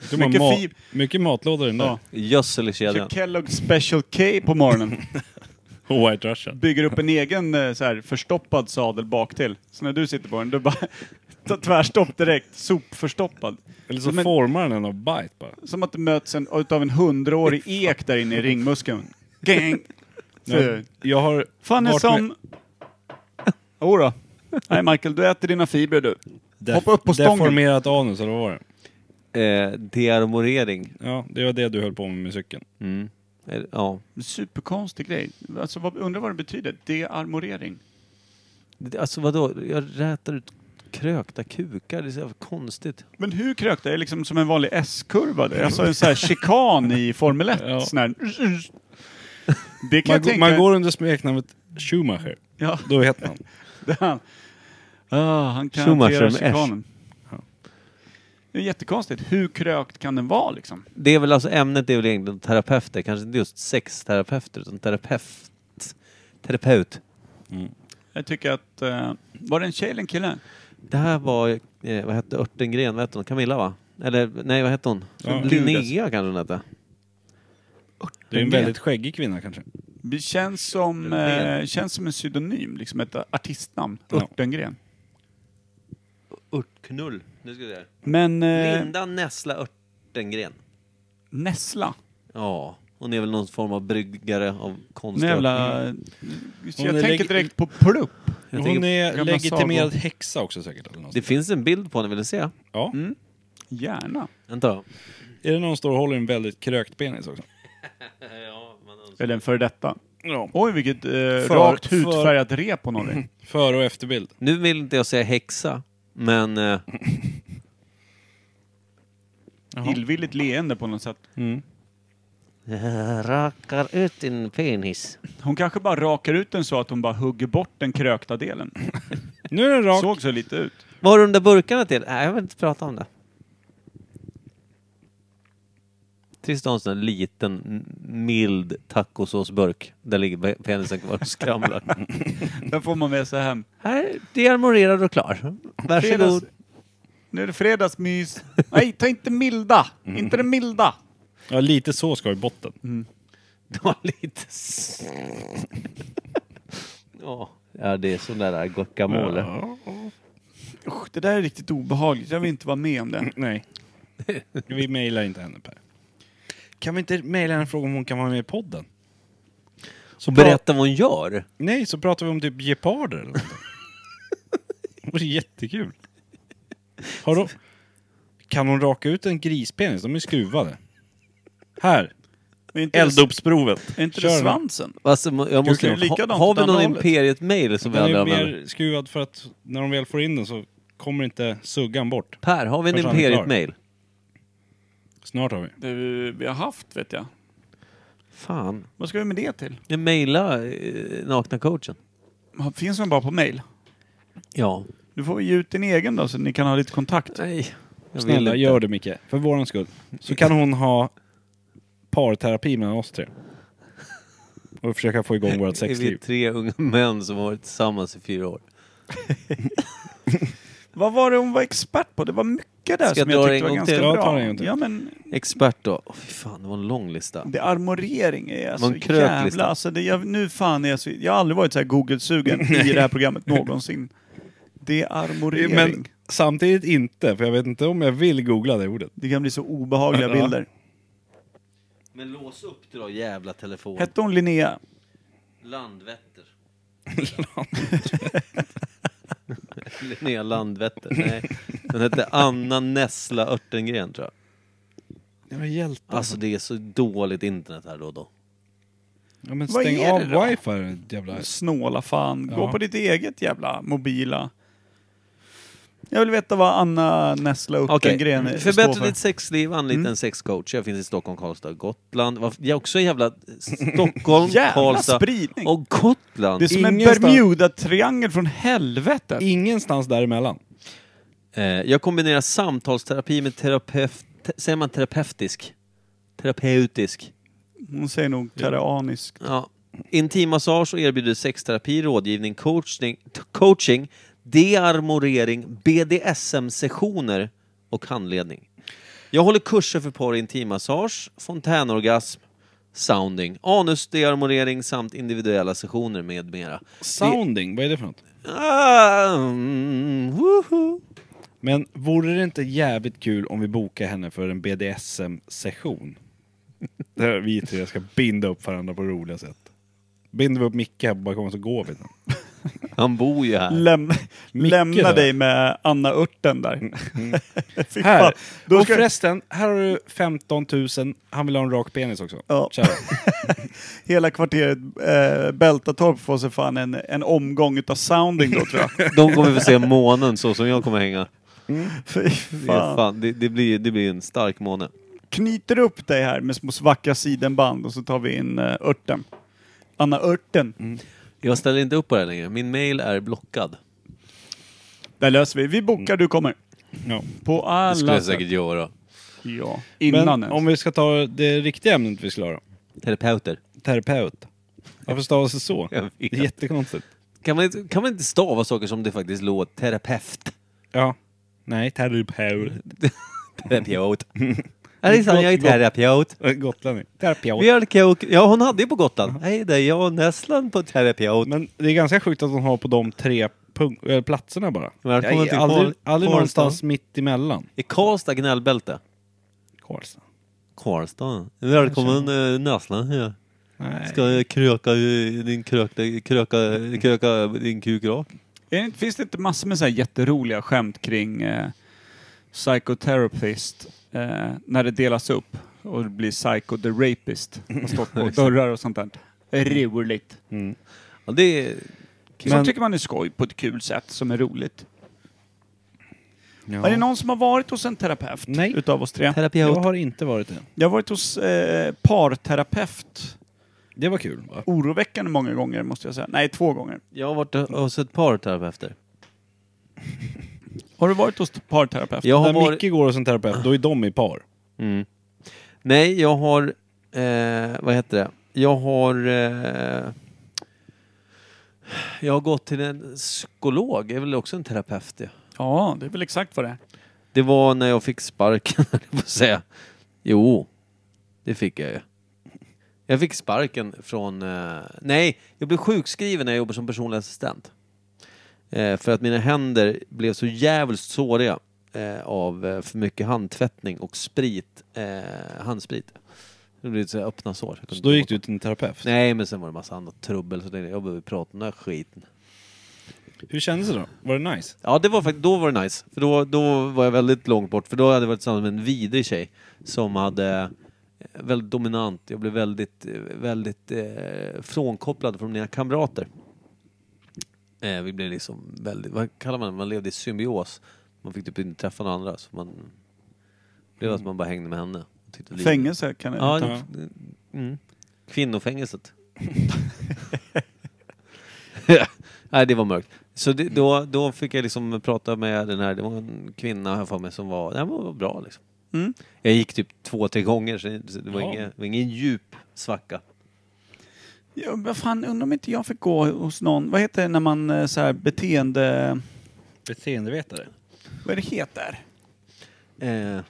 S2: Så man
S3: Mycket
S2: ma-
S3: fib-
S2: mycket matlådor i den där.
S3: Ja.
S4: gödsel i kedjan.
S3: Kör Kellogg Special K på morgonen.
S2: Och White Russian.
S3: Bygger upp en egen eh, så här, förstoppad sadel bak till. Så när du sitter på den, du bara tar tvärstopp direkt. Sopförstoppad.
S2: Eller så
S3: Men-
S2: formar den en av bite bara.
S3: Som att det möts en, utav en hundraårig ek där inne i ringmuskeln. Gang! Så-
S2: Jag har
S3: Fan är
S2: varit med-
S3: som... Jodå. Nej Michael, du äter dina fibrer du.
S2: def-
S3: hoppa upp på stången.
S2: deformerat anus, eller vad var det?
S4: Eh, dearmorering.
S2: Ja, det var det du höll på med med cykeln.
S4: Mm. Eh, Ja.
S3: Superkonstig grej. Alltså, vad, undrar vad det betyder? Dearmorering.
S4: Det- Alltså vadå? Jag rätar ut krökta kukar. Det är så jävla konstigt.
S3: Men hur krökt? Det är liksom som en vanlig S-kurva. Det är Alltså en sån här chikan i Formel 1.
S2: Ja.
S3: Sån här.
S2: Man,
S3: Det kan jag
S2: gå-
S3: tänka...
S2: man går under smeknamnet Schumacher.
S3: Ja,
S2: Då heter man.
S3: det han. Ah, han kan
S4: Schumacher
S3: hantera
S4: med S.
S3: chikanen. Det är jättekonstigt. Hur krökt kan den vara liksom?
S4: Det är väl alltså ämnet är väl egentligen terapeuter, kanske inte just sexterapeuter utan terapeut. Terapeut.
S3: Jag tycker att... eh, var det en tjej eller en kille?
S4: Det här var, eh, vad hette Örtengren, vad hette hon? Camilla va? Eller nej, vad hette hon?
S2: Ja.
S4: Linnea kanske hon hette.
S2: Det är en väldigt skäggig kvinna kanske.
S3: Det känns som, eh, känns som en pseudonym, liksom ett artistnamn.
S2: Ja.
S3: Örtengren.
S4: Örtknull. Nu ska vi se.
S3: Men eh,
S4: Linda Nessla Örtengren.
S3: Nessla?
S4: Ja, hon är väl någon form av bryggare av konst.
S3: Någon jävla... Så jag
S2: är
S3: tänker
S2: leg-
S3: direkt på plupp.
S4: Jag
S2: Hon
S4: tänker-
S2: är
S3: gamla
S2: legitimerad häxa också säkert. Eller något.
S4: Det finns en bild på henne, vill du se?
S2: Ja.
S3: Gärna.
S4: Vänta.
S2: Är det någon som står och håller en väldigt krökt penis också?
S3: Eller en före detta.
S2: Ja.
S3: Oj, vilket eh, rakt
S2: för-
S3: hudfärgat rep hon har i.
S2: Före och efterbild.
S4: Nu vill inte jag säga häxa, men eh,
S3: Illvilligt leende på något sätt.
S4: rakar ut din penis.
S3: Hon kanske bara rakar ut den så att hon bara hugger bort den krökta delen.
S2: Nu är den rak.
S3: Såg så lite ut.
S4: Vad har du de där burkarna till? Nej, jag vill inte prata om det. Trist att ha en sån här liten, m- mild tacosåsburk. Där ligger pe- penisen kvar och skramlar.
S3: Den får man med sig hem.
S4: Här, dearmorerad och klar. Varsågod.
S3: Fredags- Nu är det fredagsmys. Nej, ta inte milda. Inte den milda.
S2: Ja, lite så ska i botten.
S4: Ta lite... s- Ja, ja, det är sån där äh, guacamole.
S3: Usch, det där är riktigt obehagligt. Jag vill inte vara med om det.
S2: Nej. Vi mejlar inte henne Per. Kan vi inte mejla henne och fråga om hon kan vara med i podden? Så pra-
S4: Berätta vad hon gör.
S2: Nej, så pratar vi om typ geparder eller något. Det vore jättekul. Har du... Kan hon raka ut en grispenis? De är skruvade. Här!
S3: Är inte det,
S2: Eldopsprovet.
S3: är inte
S2: Kör
S3: det
S2: nu.
S3: svansen?
S4: Alltså, må- jag måste,
S3: kan ju
S4: ha,
S3: likadant
S4: har vi
S3: åt andra
S4: någon
S3: hållet.
S4: Imperiet-mail som vi
S2: Den
S4: aldrig
S2: är
S4: använder?
S2: mer skruvad för att när de väl får in den så kommer inte suggan bort.
S4: Per, har vi en
S2: Först han är
S4: Imperiet-mail?
S2: Snart har vi.
S3: Det vi har haft, vet jag.
S4: Fan.
S3: Vad ska vi med det till?
S4: Jag Mejla eh, nakna coachen.
S3: Finns de bara på mail?
S4: Ja.
S3: Du får ge ut din egen då, så ni kan ha lite kontakt.
S4: Nej. Jag
S2: Snälla,
S4: vill
S2: gör det Micke. För våran skull. Så kan hon ha parterapi mellan oss tre. Och försöka få igång vårt
S4: inte. Vi är
S2: sexliv.
S4: tre unga män som har varit tillsammans i fyra år.
S3: Vad var det hon var expert på? Det var mycket där
S4: Ska
S3: som
S4: jag
S3: jag
S4: dra
S3: tyckte
S4: en
S3: var
S4: gång
S3: ganska
S4: till?
S2: Ja, ta
S3: bra.
S2: den en gång till.
S3: Ja, men
S4: Expert då? Åh, fy fan, det var en lång lista.
S3: det, armorering är alltså
S4: en kröklista.
S3: jävla... Alltså det, jag, nu fan är jag så... Jag har aldrig varit så här Google-sugen i det här programmet någonsin. Det är armorering.
S2: Men samtidigt inte, för jag vet inte om jag vill googla det ordet.
S3: Det kan bli så obehagliga bilder.
S4: Men lås upp du då, jävla telefon.
S3: Hette hon Linnea?
S4: Landvetter. Linnea Landvetter. Nej. Den hette Anna Nessla Örtengren tror jag.
S2: Det var hjälte.
S4: Alltså det är så dåligt internet här då och då.
S2: Ja, men
S3: Vad
S2: stäng
S3: är
S2: av
S3: det då?
S2: wifi jävla...
S3: Snåla fan. Gå
S2: Ja.
S3: på ditt eget jävla mobila. Jag vill veta vad Anna Nessla
S4: Okej, Mm.
S3: Örtengren okay. står
S4: förbättra
S3: för. Mm.
S4: ditt sexliv, anlita en sexcoach. Jag finns i Stockholm, Karlstad, Gotland. Varför- Jag är också jävla Stockholm,
S3: Jävla
S4: Karlstad
S3: spridning!
S4: och Gotland.
S3: det är som en
S2: Ingenstans-
S3: Bermuda-triangel från helvetet.
S2: Ingenstans däremellan.
S4: Eh, jag kombinerar samtalsterapi med terapeut... te- Säger man terapeutisk? Terapeutisk.
S3: Hon säger nog teranisk.
S4: Ja. Intimmassage och erbjuder sexterapi, rådgivning, coaching, t- coaching dearmorering, BDSM-sessioner och handledning. Jag håller kurser för par i intimmassage, fontänorgasm, sounding, anusdearmorering samt individuella sessioner med mera.
S2: Sounding, vad är det för något?
S4: Ah, mm, woho.
S2: Men vore det inte jävligt kul om vi bokar henne för en BDSM-session? Där vi tre ska binda upp varandra på roliga sätt. Binder vi upp Micke här på balkongen så går vi sen.
S4: Han bor ju här.
S3: Läm, lämna
S2: där.
S3: dig med Anna Örten där. Fy fan.
S2: Här!
S3: Då
S2: och
S3: ska,
S2: förresten, här har du 15 000. Han vill ha en rak penis också.
S3: Ja.
S2: Kära.
S3: Hela kvarteret eh, Bältatorp får sig fan en, en omgång utav sounding då tror jag.
S4: De kommer få se månen så som jag kommer hänga.
S3: Fy
S4: Det, är
S3: fan.
S4: fan, det, det, blir, det blir en stark måne.
S3: Knyter upp dig här med små vackra sidenband och så tar vi in eh, Örten. Anna Örten.
S4: Jag ställer inte upp på det här längre. Min mail är blockad.
S3: Där löser vi. Vi bokar, du kommer.
S2: Ja.
S3: På alla
S4: Det skulle jag
S3: sätt.
S4: säkert göra.
S3: Ja.
S2: Men
S3: Innan
S2: om
S3: ens.
S2: vi ska ta det riktiga ämnet vi skulle ha då.
S4: Terapeuter.
S2: Terapeut. Varför stavas det så?
S4: Jag vet.
S2: Det är jättekonstigt.
S4: Kan man, inte, kan man inte stava saker som det faktiskt låter? Terapeut.
S2: Ja. Nej, terapeut.
S4: Terapeut. Hejsan, jag är
S2: Gott- gott.
S4: terapeut.
S2: Äh, Gotlänning. Terapeut.
S4: Mjölkkok. Ja, hon hade ju på Gotland. Hej, det är jag Nesslan på terapeut.
S2: Men det är ganska sjukt att hon har på de tre punk- eller platserna bara.
S4: Välkommen
S2: Jag är
S4: till
S2: aldrig,
S4: Karl-
S2: aldrig
S4: Karlstad.
S2: någonstans mitt emellan.
S4: I Karlstad gnällbälte.
S2: Karlstad.
S4: Karlstad. Välkommen eh, Näslan här.
S2: Nej.
S4: Ska jag kröka eh, din kröka, kröka, kröka din kuk rak?
S3: Är det, inte- finns det inte massor med så här jätteroliga skämt kring eh, psychotherapist eh, när det delas upp och det blir psycho the rapist och stått på dörrar och sånt där. Roligt.
S4: Ja, det är...
S3: Som tycker man är skoj på ett kul sätt som är roligt.
S2: Ja.
S3: Är det någon som har varit hos en terapeut
S2: Nej.
S3: utav oss tre?
S2: Jag
S4: Terapeut.
S2: har inte varit det.
S3: Jag har varit hos eh, parterapeut
S2: Det var kul va?
S3: oroväckande många gånger måste jag säga. Nej, två gånger.
S4: Jag har varit hos ett par terapeuter.
S3: Har du varit hos parterapeut?
S4: Jag har
S2: När
S4: varit...
S2: Micke går hos en terapeut, då är de i par.
S4: Mm. Nej, jag har... Eh, vad heter det? Jag har... Eh, jag har gått till en psykolog, är väl också en terapeut ja.
S3: Ja, det är väl exakt vad det är.
S4: Det var när jag fick sparken, höll jag på att säga. Jo, det fick jag ju. Jag fick sparken från... Eh, nej, jag blev sjukskriven när jag jobbade som personlig assistent. Eh, för att mina händer blev så jävligt såriga eh, av eh, för mycket handtvättning och sprit, eh, handsprit. Det blev så här öppna sår. Jag kunde
S2: Så då
S4: inte
S2: gick
S4: åt-
S2: du till en terapeut.
S4: Nej, men sen var det massa annat trubbel så tänkte jag, jag behöver prata om den här skiten.
S2: Hur kändes det då? Var det nice?
S4: Ja, det var faktiskt, då var det nice. För då, då var jag väldigt långt bort. För då hade jag varit tillsammans med en vidrig tjej som hade eh, väldigt dominant. Jag blev väldigt, eh, väldigt eh, frånkopplad från mina kamrater. Eh, vi blev liksom väldigt, vad kallar man det? Man levde i symbios. Man fick typ inte träffa några andra. Så man blev att man bara hängde med henne. Och tyckte livet-
S3: Fängelse kan det
S4: Ja,
S2: Ja.
S4: mm. Kvinnofängelset. Nej, det var mörkt. Så det, då, då fick jag liksom prata med den här, det var en kvinna här för mig som var, den var bra liksom.
S3: Mm.
S4: Jag gick typ två, tre gånger så det så det var,
S2: Ja.
S4: ingen, det var ingen djup svacka.
S3: Ja, vad fan, undrar om inte jag fick gå hos någon, vad heter det när man eh, så här beteende...
S2: Beteendevetare?
S3: Vad är det heter?
S4: Eh,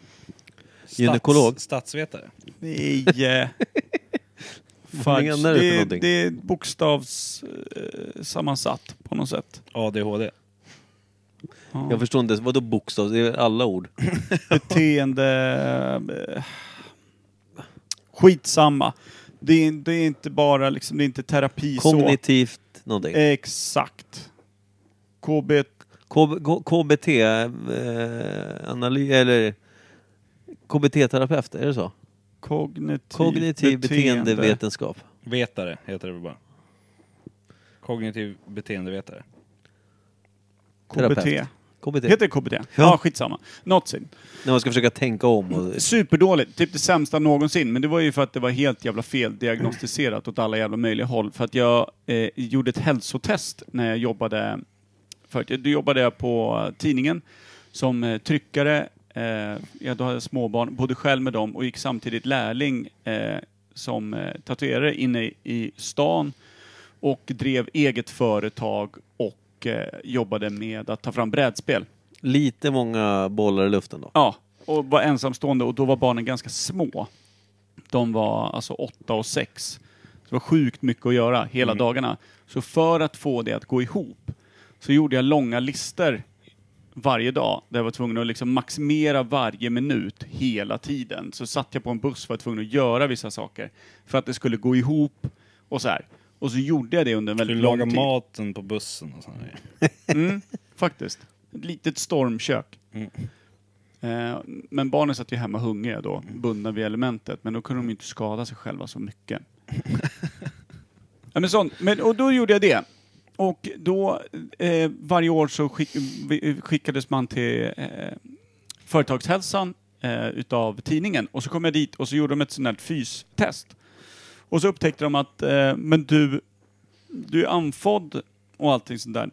S4: Gynekolog.
S2: Stats, statsvetare?
S3: Nej... eh,
S4: Vad
S3: Fudge.
S4: menar du för
S3: Det, är-
S4: någonting?
S3: det är bokstavssammansatt eh, sammansatt på något sätt.
S2: ADHD?
S3: Ja.
S4: Jag förstår inte, vadå bokstav? Det är alla ord.
S3: Beteende... eh, Skitsamma. Det är, det är inte bara liksom, det är inte terapi
S4: Kognitivt någonting.
S3: så. Exakt. KB...
S4: K- K- KBT, eh, analys, eller KBT-terapeut, är det så?
S3: Kognitiv,
S4: Kognitiv beteendevetenskap.
S2: Vetare heter det väl bara? Kognitiv beteendevetare.
S3: KBT.
S4: Terapeut. KBT.
S3: Heter det KBT? Ja, ja skitsamma. Någonsin.
S4: När man ska försöka tänka om och...
S3: Superdåligt, typ det sämsta någonsin. Men det var ju för att det var helt jävla feldiagnostiserat åt alla jävla möjliga håll. För att jag eh, gjorde ett hälsotest när jag jobbade, för att, då jobbade jag på tidningen som eh, tryckare. Eh, jag då hade jag småbarn, bodde själv med dem och gick samtidigt lärling eh, som eh, tatuerare inne i, i stan och drev eget företag och eh, jobbade med att ta fram brädspel.
S4: Lite många bollar i luften då.
S3: Ja, och var ensamstående och då var barnen ganska små. De var alltså åtta och sex. Så det var sjukt mycket att göra hela dagarna. Så för att få det att gå ihop så gjorde jag långa listor varje dag där jag var tvungen att liksom maximera varje minut hela tiden. Så satt jag på en buss och var tvungen att göra vissa saker för att det skulle gå ihop och så här. Och så gjorde jag det under en
S2: Du
S3: väldigt lång
S2: lagar
S3: tid.
S2: maten på bussen och sådär.
S3: Mm, faktiskt. Ett litet stormkök. Eh, men barnen satt ju hemma hungriga då, bundna vid elementet. Men då kunde de ju inte skada sig själva så mycket. ja, men sånt. Men, och då gjorde jag det. Och då, eh, varje år så skick, vi- skickades man till eh, Företagshälsan eh, utav tidningen. Och så kom jag dit och så gjorde de ett sånt här fystest. Och så upptäckte de att, eh, men du, du är andfådd och allting sånt där.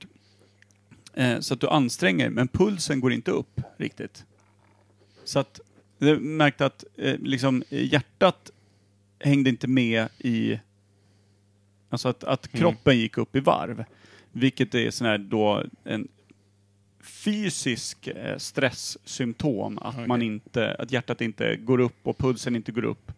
S3: Eh, så att du anstränger men pulsen går inte upp riktigt. Så att jag märkte att eh, liksom, eh, hjärtat hängde inte med i... Alltså att, att kroppen gick upp i varv. Vilket är sån här då en fysisk eh, stresssymptom. Att, man inte, att hjärtat inte går upp och pulsen inte går upp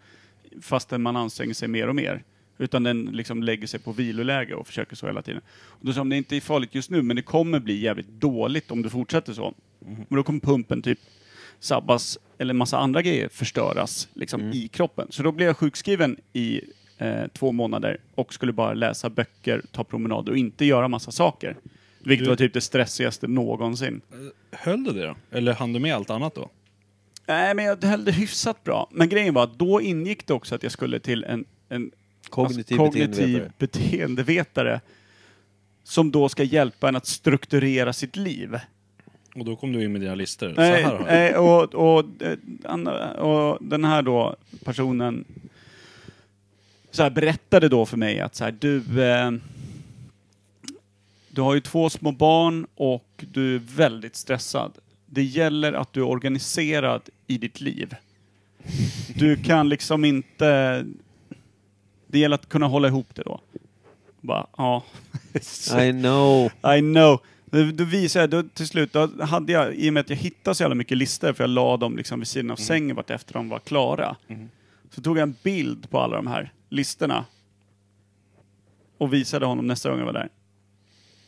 S3: fastän man anstränger sig mer och mer. Utan den liksom lägger sig på viloläge och försöker så hela tiden. Och då sa de, det är inte farligt just nu, men det kommer bli jävligt dåligt om du fortsätter så. Men då kommer pumpen typ sabbas, eller massa andra grejer förstöras liksom, i kroppen. Så då blev jag sjukskriven i eh, två månader och skulle bara läsa böcker, ta promenader och inte göra massa saker. Vilket var typ det stressigaste någonsin.
S2: Eh, Höll du det då? Eller hann du med allt annat då?
S3: Nej, men jag höll det hyfsat bra. Men grejen var att då ingick det också att jag skulle till en, en
S4: Kognitiv beteendevetare.
S3: alltså kognitiv beteendevetare som då ska hjälpa en att strukturera sitt liv.
S2: Och då kom du in med dina listor. Så
S3: Nej,
S2: här har jag.
S3: nej, och, och, eh, andra- och den här då personen så här berättade då för mig att så här, du, eh, du har ju två små barn och du är väldigt stressad. Det gäller att du är organiserad i ditt liv. Du kan liksom inte... Det gäller att kunna hålla ihop det då. Bara, ja.
S4: I know.
S3: I know. Då, då visade jag, då, till slut, då hade jag, i och med att jag hittade så jävla mycket listor, för jag la dem liksom vid sidan av sängen vart efter de var klara. Så tog jag en bild på alla de här listorna. Och visade honom nästa gång jag var där.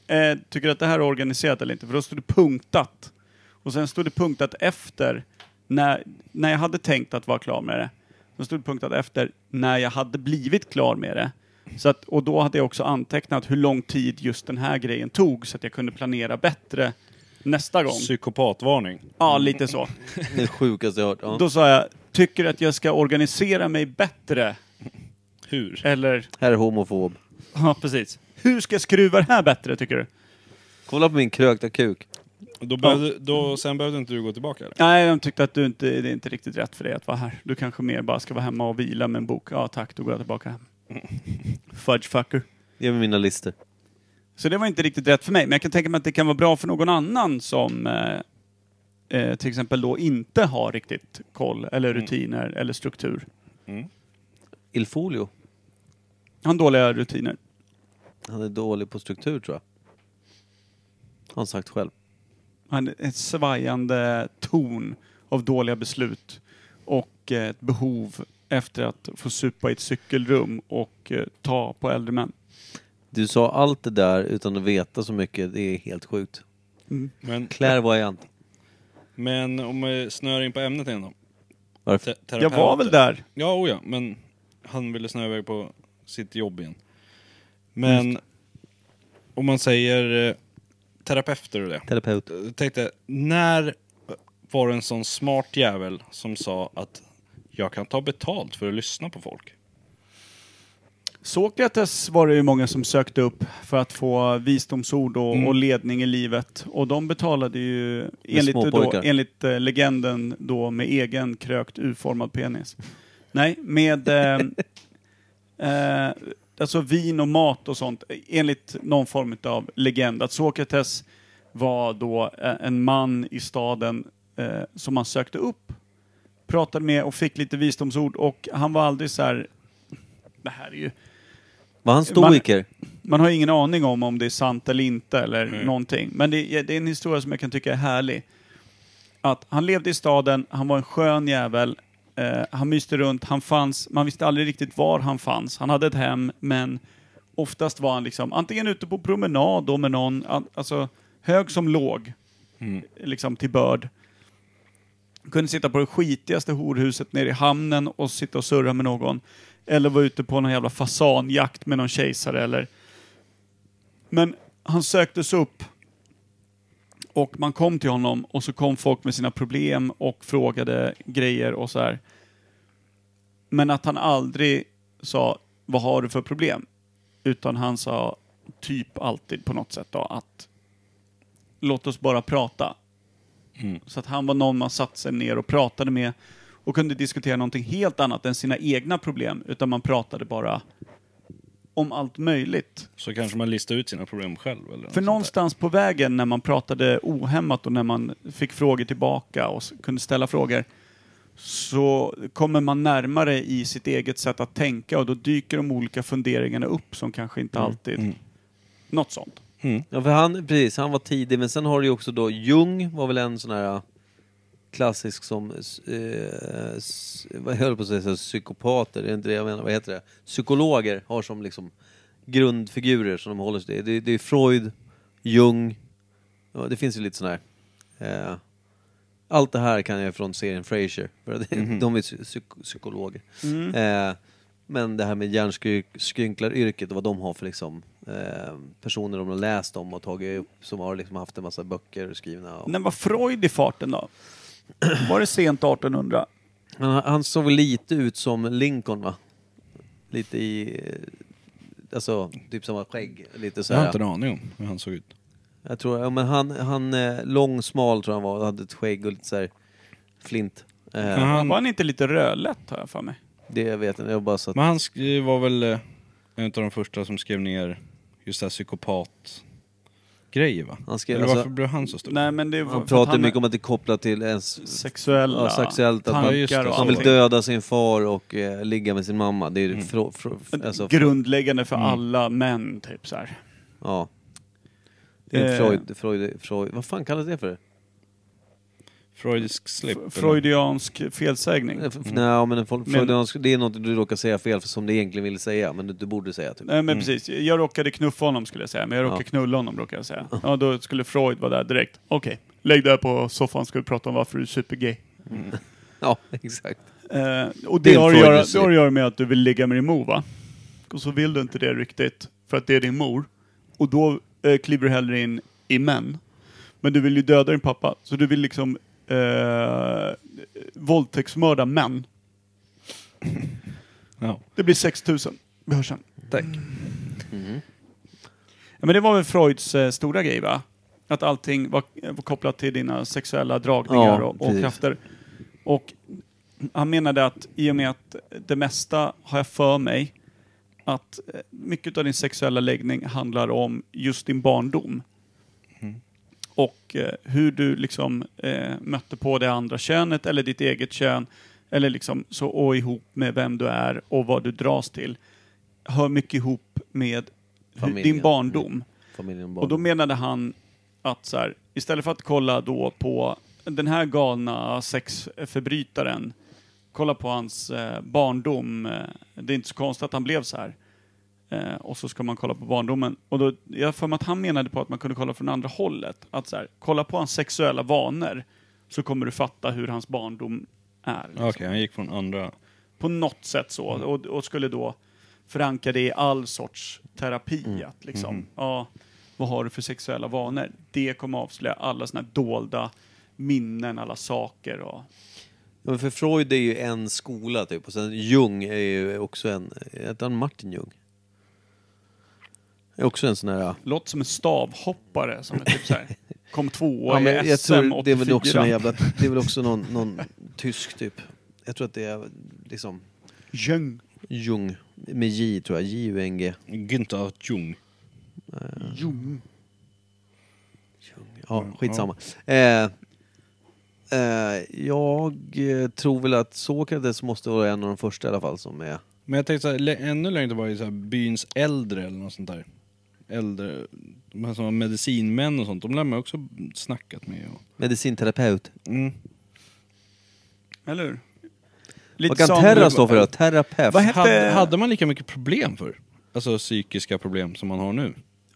S3: Eh, tycker du att det här är organiserat eller inte? För då stod det punktat. Och sen stod det punktat efter, när, när jag hade tänkt att vara klar med det. Då stod det punktat efter, när jag hade blivit klar med det. Så att, och då hade jag också antecknat hur lång tid just den här grejen tog så att jag kunde planera bättre nästa gång.
S2: Psykopatvarning.
S3: Ja, lite så.
S4: Det sjukaste jag hört. Ja.
S3: Då sa jag, tycker du att jag ska organisera mig bättre?
S2: Hur?
S3: Eller,
S4: Här är homofob.
S3: ja precis. Hur ska jag skruva det här bättre tycker du?
S4: Kolla på min krökta kuk.
S2: Då behövde, då, sen behövde inte du gå tillbaka eller?
S3: Nej, de tyckte att du inte, det är inte riktigt rätt för dig att vara här. Du kanske mer bara ska vara hemma och vila med en bok. Ja tack, då går jag tillbaka hem. Fudge fucker.
S4: Ge mig mina listor.
S3: Så det var inte riktigt rätt för mig, men jag kan tänka mig att det kan vara bra för någon annan som eh, eh, till exempel då inte har riktigt koll eller rutiner eller struktur.
S4: Ilfolio.
S3: Han har dåliga rutiner.
S4: Han är dålig på struktur tror jag. Har han sagt själv.
S3: Han har ett svajande ton av dåliga beslut och eh, ett behov efter att få supa i ett cykelrum och eh, ta på äldre män.
S4: Du sa allt det där utan att veta så mycket. Det är helt sjukt.
S2: Men,
S4: Clairvoyant.
S2: men om vi snör in på ämnet igen då.
S4: Varför?
S2: Te-
S3: Jag var väl där.
S2: Ja, oh ja, men han ville snöa iväg på sitt jobb igen. Men om man säger eh, terapeuter och det.
S4: Terapeut.
S2: Jag tänkte, när var det en sån smart jävel som sa att jag kan ta betalt för att lyssna på folk?
S3: Sokrates var det ju många som sökte upp för att få visdomsord och, och ledning i livet. Och de betalade ju, enligt, då,
S4: småpojkar.
S3: enligt eh, legenden, då med egen krökt U-formad penis. Nej, med eh, eh, alltså vin och mat och sånt. Enligt någon form av legend. Att Sokrates var då eh, en man i staden eh, som man sökte upp, pratade med och fick lite visdomsord. Och han var aldrig så här... Det här är ju...
S4: Var han stoiker?
S3: Man har ingen aning om om det är sant eller inte eller någonting. Men det, är- det är en historia som jag kan tycka är härlig. Att han levde i staden, han var en skön jävel, eh, han myste runt, han fanns, man visste aldrig riktigt var han fanns. Han hade ett hem, men oftast var han liksom antingen ute på promenad då med någon, an- alltså hög som låg, liksom till börd. Kunde sitta på det skitigaste horhuset nere i hamnen och sitta och surra med någon. Eller vara ute på någon jävla fasanjakt med någon kejsare eller... Men han söktes upp och man kom till honom och så kom folk med sina problem och frågade grejer och så här. Men att han aldrig sa vad har du för problem? Utan han sa typ alltid på något sätt då att låt oss bara prata. Så att han var någon man satte sig ner och pratade med och kunde diskutera någonting helt annat än sina egna problem utan man pratade bara om allt möjligt.
S2: Så kanske man listar ut sina problem själv eller något
S3: För
S2: sånt
S3: någonstans på vägen när man pratade ohämmat och när man fick frågor tillbaka och s- kunde ställa frågor så kommer man närmare i sitt eget sätt att tänka och då dyker de olika funderingarna upp som kanske inte
S4: Mm.
S3: alltid... Något sånt.
S4: Ja, för han, precis, han var tidig. Men sen har du ju också då Jung var väl en sån här äh, klassisk som, eh, s- vad höll jag på att säga, så här, psykopater, det är inte det jag menar, vad heter det? Psykologer har som liksom grundfigurer som de håller sig till. Det, det är Freud, Jung, ja, det finns ju lite sådana här. Eh, allt det här kan jag från serien Frasier, för att de är psy- psyk- psykologer. Eh, men det här med hjärnskrynklaryrket och vad de har för liksom, eh, personer de har läst om och tagit upp som har liksom haft en massa böcker skrivna. Och,
S3: När var Freud i farten då? Var det sent 1800?
S4: Men han, han såg lite ut som Lincoln va? Lite i... eh, Alltså, typ samma skägg. Lite så
S2: Jag har
S4: här.
S2: inte en aning om hur han såg ut.
S4: Jag tror, ja, men han, han eh, lång, smal tror jag han var och hade ett skägg och lite så här flint. Eh,
S2: Men
S3: Var
S2: han,
S3: han inte lite rödlätt har jag för mig?
S4: Det vet jag inte, jag bara så att,
S2: men han sk- var väl eh, en av de första som skrev ner just det här psykopat-grejer va?
S4: Han skrev
S2: Eller
S4: alltså-
S2: varför blev han så stor?
S3: Nej men det var
S4: han
S3: för att
S4: pratar mycket om att det kopplar till ens...
S3: sexuella
S4: Ja, sexuellt, att man-
S2: just det,
S3: tankar och
S4: Han vill
S2: så.
S3: allting.
S4: döda sin far och eh, ligga med sin mamma. Det är ju frå- frå- alltså,
S3: Grundläggande för alla män, typ så här.
S4: ja. Det är
S3: Eh.
S4: Freud, Freud, Freud, vad fan kallas det för?
S2: Freudisk slip?
S3: F-
S2: eller?
S3: Freudiansk felsägning.
S4: Mm. Nej, men en fol-
S3: Men-
S4: freudiansk, det är något du råkar säga fel för som du egentligen ville säga, men du, du borde säga typ.
S3: Nej men precis, jag råkade knuffa honom skulle jag säga, men jag råkade
S4: Ja.
S3: knulla honom råkade jag säga. Ja, då skulle Freud vara där direkt. Okej, lägg dig här på soffan ska vi prata om varför du är supergay.
S4: Ja, exakt.
S3: Eh, och
S4: Det är
S3: det
S4: en
S3: har, att göra,
S4: Freudiansk
S3: det har att göra med att du vill ligga med din mor va? Och så vill du inte det riktigt, för att det är din mor. Och då eh, kliver du hellre in i män. Men du vill ju döda din pappa, så du vill liksom eh, våldtäktsmörda män.
S2: Ja.
S3: Det blir 6000. Vi hörs sen.
S2: Tack.
S3: Ja, men det var väl Freuds eh, stora grej va? Att allting var, var kopplat till dina sexuella dragningar
S4: Ja,
S3: och, och
S4: precis.
S3: krafter. Och han menade att i och med att det mesta har jag för mig att eh, mycket av din sexuella läggning handlar om just din barndom.
S4: Mm.
S3: Och eh, hur du liksom eh, mötte på det andra könet eller ditt eget kön. Eller liksom så och ihop med vem du är och vad du dras till. Hör mycket ihop med hur-
S4: Familjen.
S3: din barndom.
S4: Familjen
S3: Och
S4: barn.
S3: då menade han att så här, istället för att kolla då på den här galna sexförbrytaren, kolla på hans eh, barndom. Eh, Det är inte så konstigt att han blev så här. Eh, och så ska man kolla på barndomen. Och då, jag har för mig att han menade på att man kunde kolla från andra hållet. Att så här, kolla på hans sexuella vanor, så kommer du fatta hur hans barndom är. liksom
S2: Okej, han gick från andra...
S3: på något sätt så
S4: Mm.
S3: och, och skulle då förankra det i all sorts terapi.
S4: Mm.
S3: Att liksom,
S4: Mm-hmm.
S3: ja, vad har du för sexuella vanor? Det kommer avslöja alla såna här dolda minnen, alla saker och...
S4: Ja, men för Freud är ju en skola typ, och sen Jung är ju också en, heter han Martin Jung? Är också en sån här... ja.
S3: Låter som en stavhoppare som är typ så här, kom tvåa
S4: Ja, men
S3: i
S4: jag
S3: SM
S4: tror
S3: 84.
S4: det är väl också någon jävla, det är väl också någon, någon tysk typ. Jag tror att det är liksom
S3: Jung.
S4: Jung, med J tror jag, J-U-N-G.
S2: Günther Jung.
S3: Jung.
S4: Ja, skitsamma. Eh, eh, jag eh, tror väl att Sokrates måste vara en av de första i alla fall som är...
S2: Men jag tänkte så här, lä- ännu längre tillbaka i så här, byns äldre eller något sånt där. Äldre, de här som var medicinmän och sånt, de lär man också snackat med. Och...
S4: Medicinterapeut.
S2: Mm.
S3: Eller hur?
S4: Vad kan
S3: som-
S4: terra stå för då? Terapeut?
S3: Vad hette-
S2: Hade, hade man lika mycket problem för? Alltså psykiska problem som man har nu?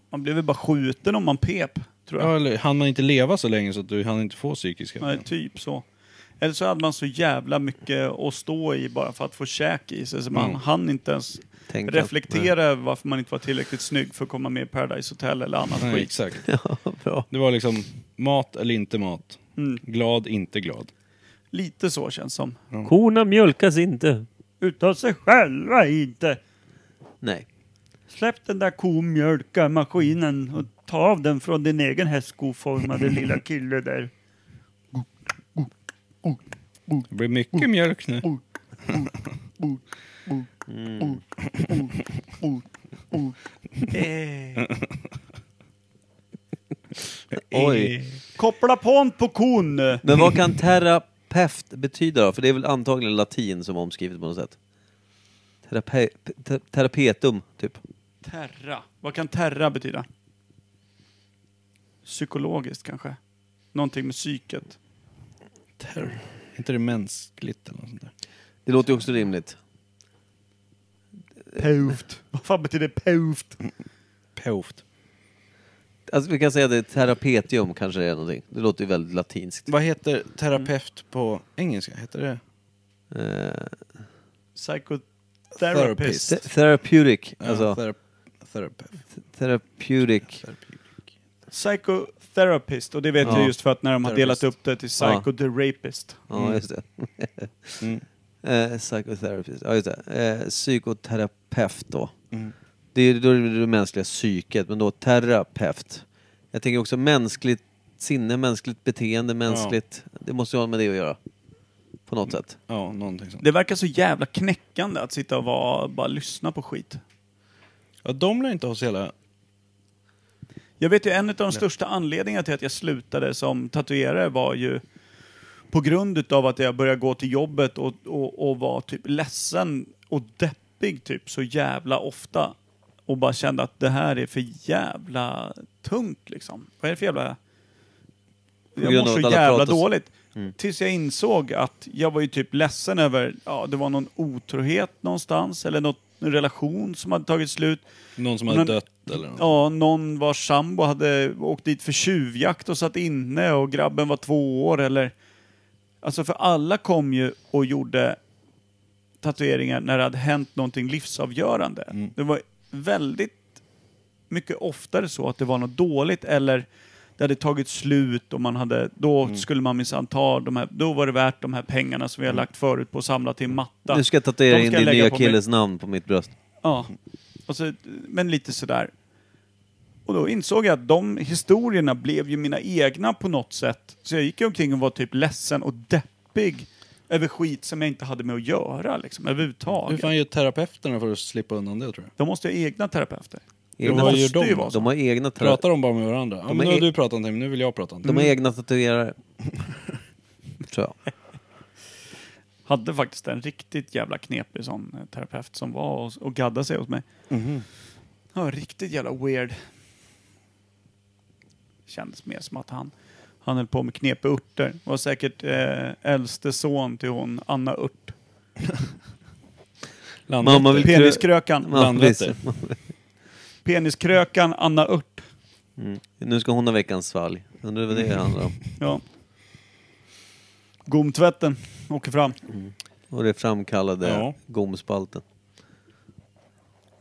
S3: Man blev väl bara skjuten om man pep, tror jag.
S2: Ja, eller hann man inte leva så länge så att du hann inte få psykiska
S3: Nej,
S2: problem?
S3: typ så. Eller så hade man så jävla mycket att stå i bara för att få käk i sig så man
S2: Mm.
S3: hann inte ens
S4: Tänk att-
S3: reflektera över varför man inte var tillräckligt snygg för att komma med i Paradise Hotel eller annat
S2: Nej,
S3: skit.
S2: exakt.
S4: Ja, bra.
S2: Det var liksom mat eller inte mat.
S3: Mm.
S2: Glad, inte glad.
S3: Lite så känns som.
S7: Korna mjölkas inte.
S3: Utav sig själva inte.
S4: Nej.
S7: Släpp den där komjölkarmaskinen och ta av den från din egen hästskoformade lilla kille där.
S2: Det blir
S3: Mm.
S2: mycket mjölk nu.
S4: Oj.
S3: Eh. Koppla på en på kon! nu.
S4: Men vad kan terapeut betyda då? För det är väl antagligen latin som är omskrivet på något sätt. Terape- te- terapetum, typ.
S3: Terra. Vad kan terra betyda? Psykologiskt kanske? Någonting med psyket.
S2: Är inte det mänskligt eller något sånt där?
S4: Det låter ju också rimligt.
S7: Pövt. Vad fan betyder pövt?
S2: Påft.
S4: Alltså vi kan säga att det är terapeutium kanske det är någonting. Det låter ju väldigt latinskt.
S2: Vad heter terapeut
S3: Mm.
S2: på engelska? Heter det?
S4: Eh,
S7: Psychotherapist.
S4: th- therapeutic,
S2: Ja,
S4: alltså
S2: thera- eh, therapeutic.
S4: therapeutic.
S2: Therapeutic.
S7: Psychotherapist. Och det vet
S4: Ja.
S7: jag just för att när de har
S2: Therapist.
S7: delat upp det till
S4: Ja.
S7: Psycho the Rapist.
S4: Ja, just det.
S2: Mm.
S4: Eh, psychotherapist, ja just det. Eh, psykoterapeut då.
S2: Mm.
S4: Det är då är det det mänskliga psyket, men då terapeut. Jag tänker också mänskligt sinne, mänskligt beteende, mänskligt. Det måste ju ha med det att göra. På något sätt.
S2: Ja, någonting sånt.
S3: Det verkar så jävla knäckande att sitta och vara, bara lyssna på skit.
S2: Ja, de lär inte ha så jävla...
S3: Jag vet ju en av de största anledningarna till att jag slutade som tatuerare var ju på grund utav att jag började gå till jobbet och, och, och var typ ledsen och deppig typ så jävla ofta. Och bara kände att det här är för jävla tungt liksom. Vad är det för jävla... Jag
S4: grund av
S3: mår så
S4: att alla
S3: jävla
S4: pratar så- Mm.
S3: dåligt. Tills jag insåg att jag var ju typ ledsen över, ja det var någon otrohet någonstans eller något, en relation som hade tagit slut.
S2: Någon som hade
S3: Men-
S2: dött eller något.
S3: Ja, någon vars sambo hade åkt dit för tjuvjakt och satt inne och grabben var två år eller... Alltså för alla kom ju och gjorde tatueringar när det hade hänt någonting livsavgörande. Det var väldigt mycket oftare så att det var något dåligt eller det hade tagit slut och man hade, då skulle man minsann ta de här, då var det värt de här pengarna som vi har lagt förut på att samla till en matta.
S4: Nu ska jag tatuera
S3: De
S4: in
S3: ska
S4: din
S3: lägga
S4: nya
S3: på mig.
S4: killes namn på mitt bröst.
S3: Ja, och så, men lite sådär. Och då insåg jag att de historierna blev ju mina egna på något sätt. Så jag gick ju omkring och var typ ledsen och deppig över skit som jag inte hade med att göra liksom,
S2: Hur
S3: överhuvudtaget.
S2: fan gör terapeuterna för att slippa undan det tror du?
S3: Då måste jag ha egna terapeuter.
S2: Ja,
S4: Egna,
S2: vad
S3: måste
S2: gör de
S3: ju vara så.
S4: de har egna, tera-
S2: Pratar de bara med varandra? Ja,
S4: De
S2: men nu
S4: är- e-
S2: har du pratat om det, men nu vill jag prata om det.
S4: de har egna tatuerare. Tror jag.
S3: Hade faktiskt en riktigt jävla knepig sån eh, terapeut som var och, och gaddade sig åt mig. Ja, riktigt jävla weird. Kändes mer som att han, han höll på med knepiga örter. Var säkert eh, äldste son till hon, Anna Ört.
S2: Landet.
S4: Mamma vill krö-
S3: Peniskrökan.
S4: Ja,
S2: Blandrätter.
S4: precis.
S3: Peniskrökan, Anna Ört.
S4: Mm. Nu ska hon ha veckans svalg. Undrar vad det handlar om.
S3: Ja. Gomtvätten åker fram.
S4: Och det framkallade
S2: Ja.
S4: gomspalten.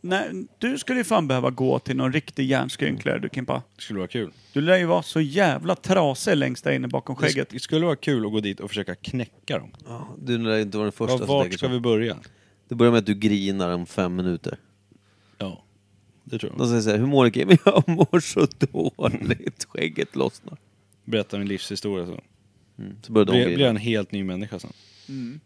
S3: Nej, du skulle ju fan behöva gå till någon riktig hjärnskrynklare du Kimpa.
S2: Det skulle vara kul.
S3: Du lär ju vara så jävla trasig längst där inne bakom
S2: Det,
S3: skägget.
S2: sk- det skulle vara kul att gå dit och försöka knäcka dem.
S4: Ja, du lär inte vara den första liksom.
S2: Ja,
S4: som
S2: vart
S4: tänker
S2: ska
S4: så.
S2: vi börja?
S4: Det börjar med att du grinar om fem minuter.
S2: Ja, det tror jag.
S4: De säger så här, hur mår du Kim? Jag mår så dåligt. Skägget lossnar.
S2: Berätta min livshistoria. Så.
S4: Mm. Så börjar de
S2: Blir, blir jag
S4: grina.
S2: en helt ny människa sen.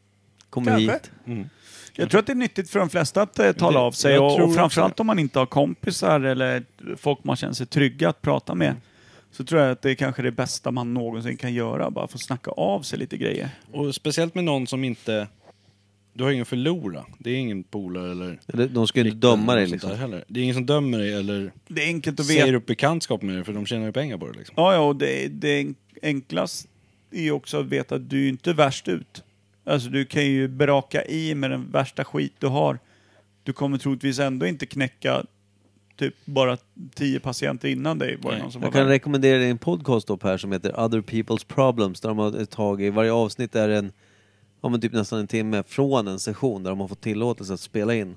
S4: Kommer
S3: Kanske.
S4: hit.
S3: Jag tror att det är nyttigt för de flesta att eh, tala
S2: det-
S3: av sig
S2: jag
S3: och,
S2: tror
S3: och
S2: också
S3: framförallt om man inte har kompisar eller folk man känner sig trygga att prata
S2: Mm.
S3: med. Så tror jag att det är kanske det bästa man någonsin kan göra, bara få snacka av sig lite grejer.
S2: Och speciellt med någon som inte... Du har ingen att förlora. Det är ingen polare eller...
S4: Eller, De ska ju inte döma dig liksom.
S2: Sånt där heller. Det är ingen som dömer dig eller
S3: Det är enkelt att
S2: säger
S3: veta.
S2: upp bekantskap med dig för de tjänar ju pengar på det liksom.
S3: Ja, ja, och det, det enk- enklast är ju också att veta att du är ju inte värst ut. Alltså du kan ju braka i med den värsta skit du har. Du kommer troligtvis ändå inte knäcka typ bara tio patienter innan dig. Var det
S2: Nej,
S3: någon som var
S4: Jag kan
S3: värre.
S4: rekommendera dig en podcast då Per som heter Other People's Problems där de har tagit, i varje avsnitt är det en, ja men typ nästan en timme från en session där de har fått tillåtelse att spela in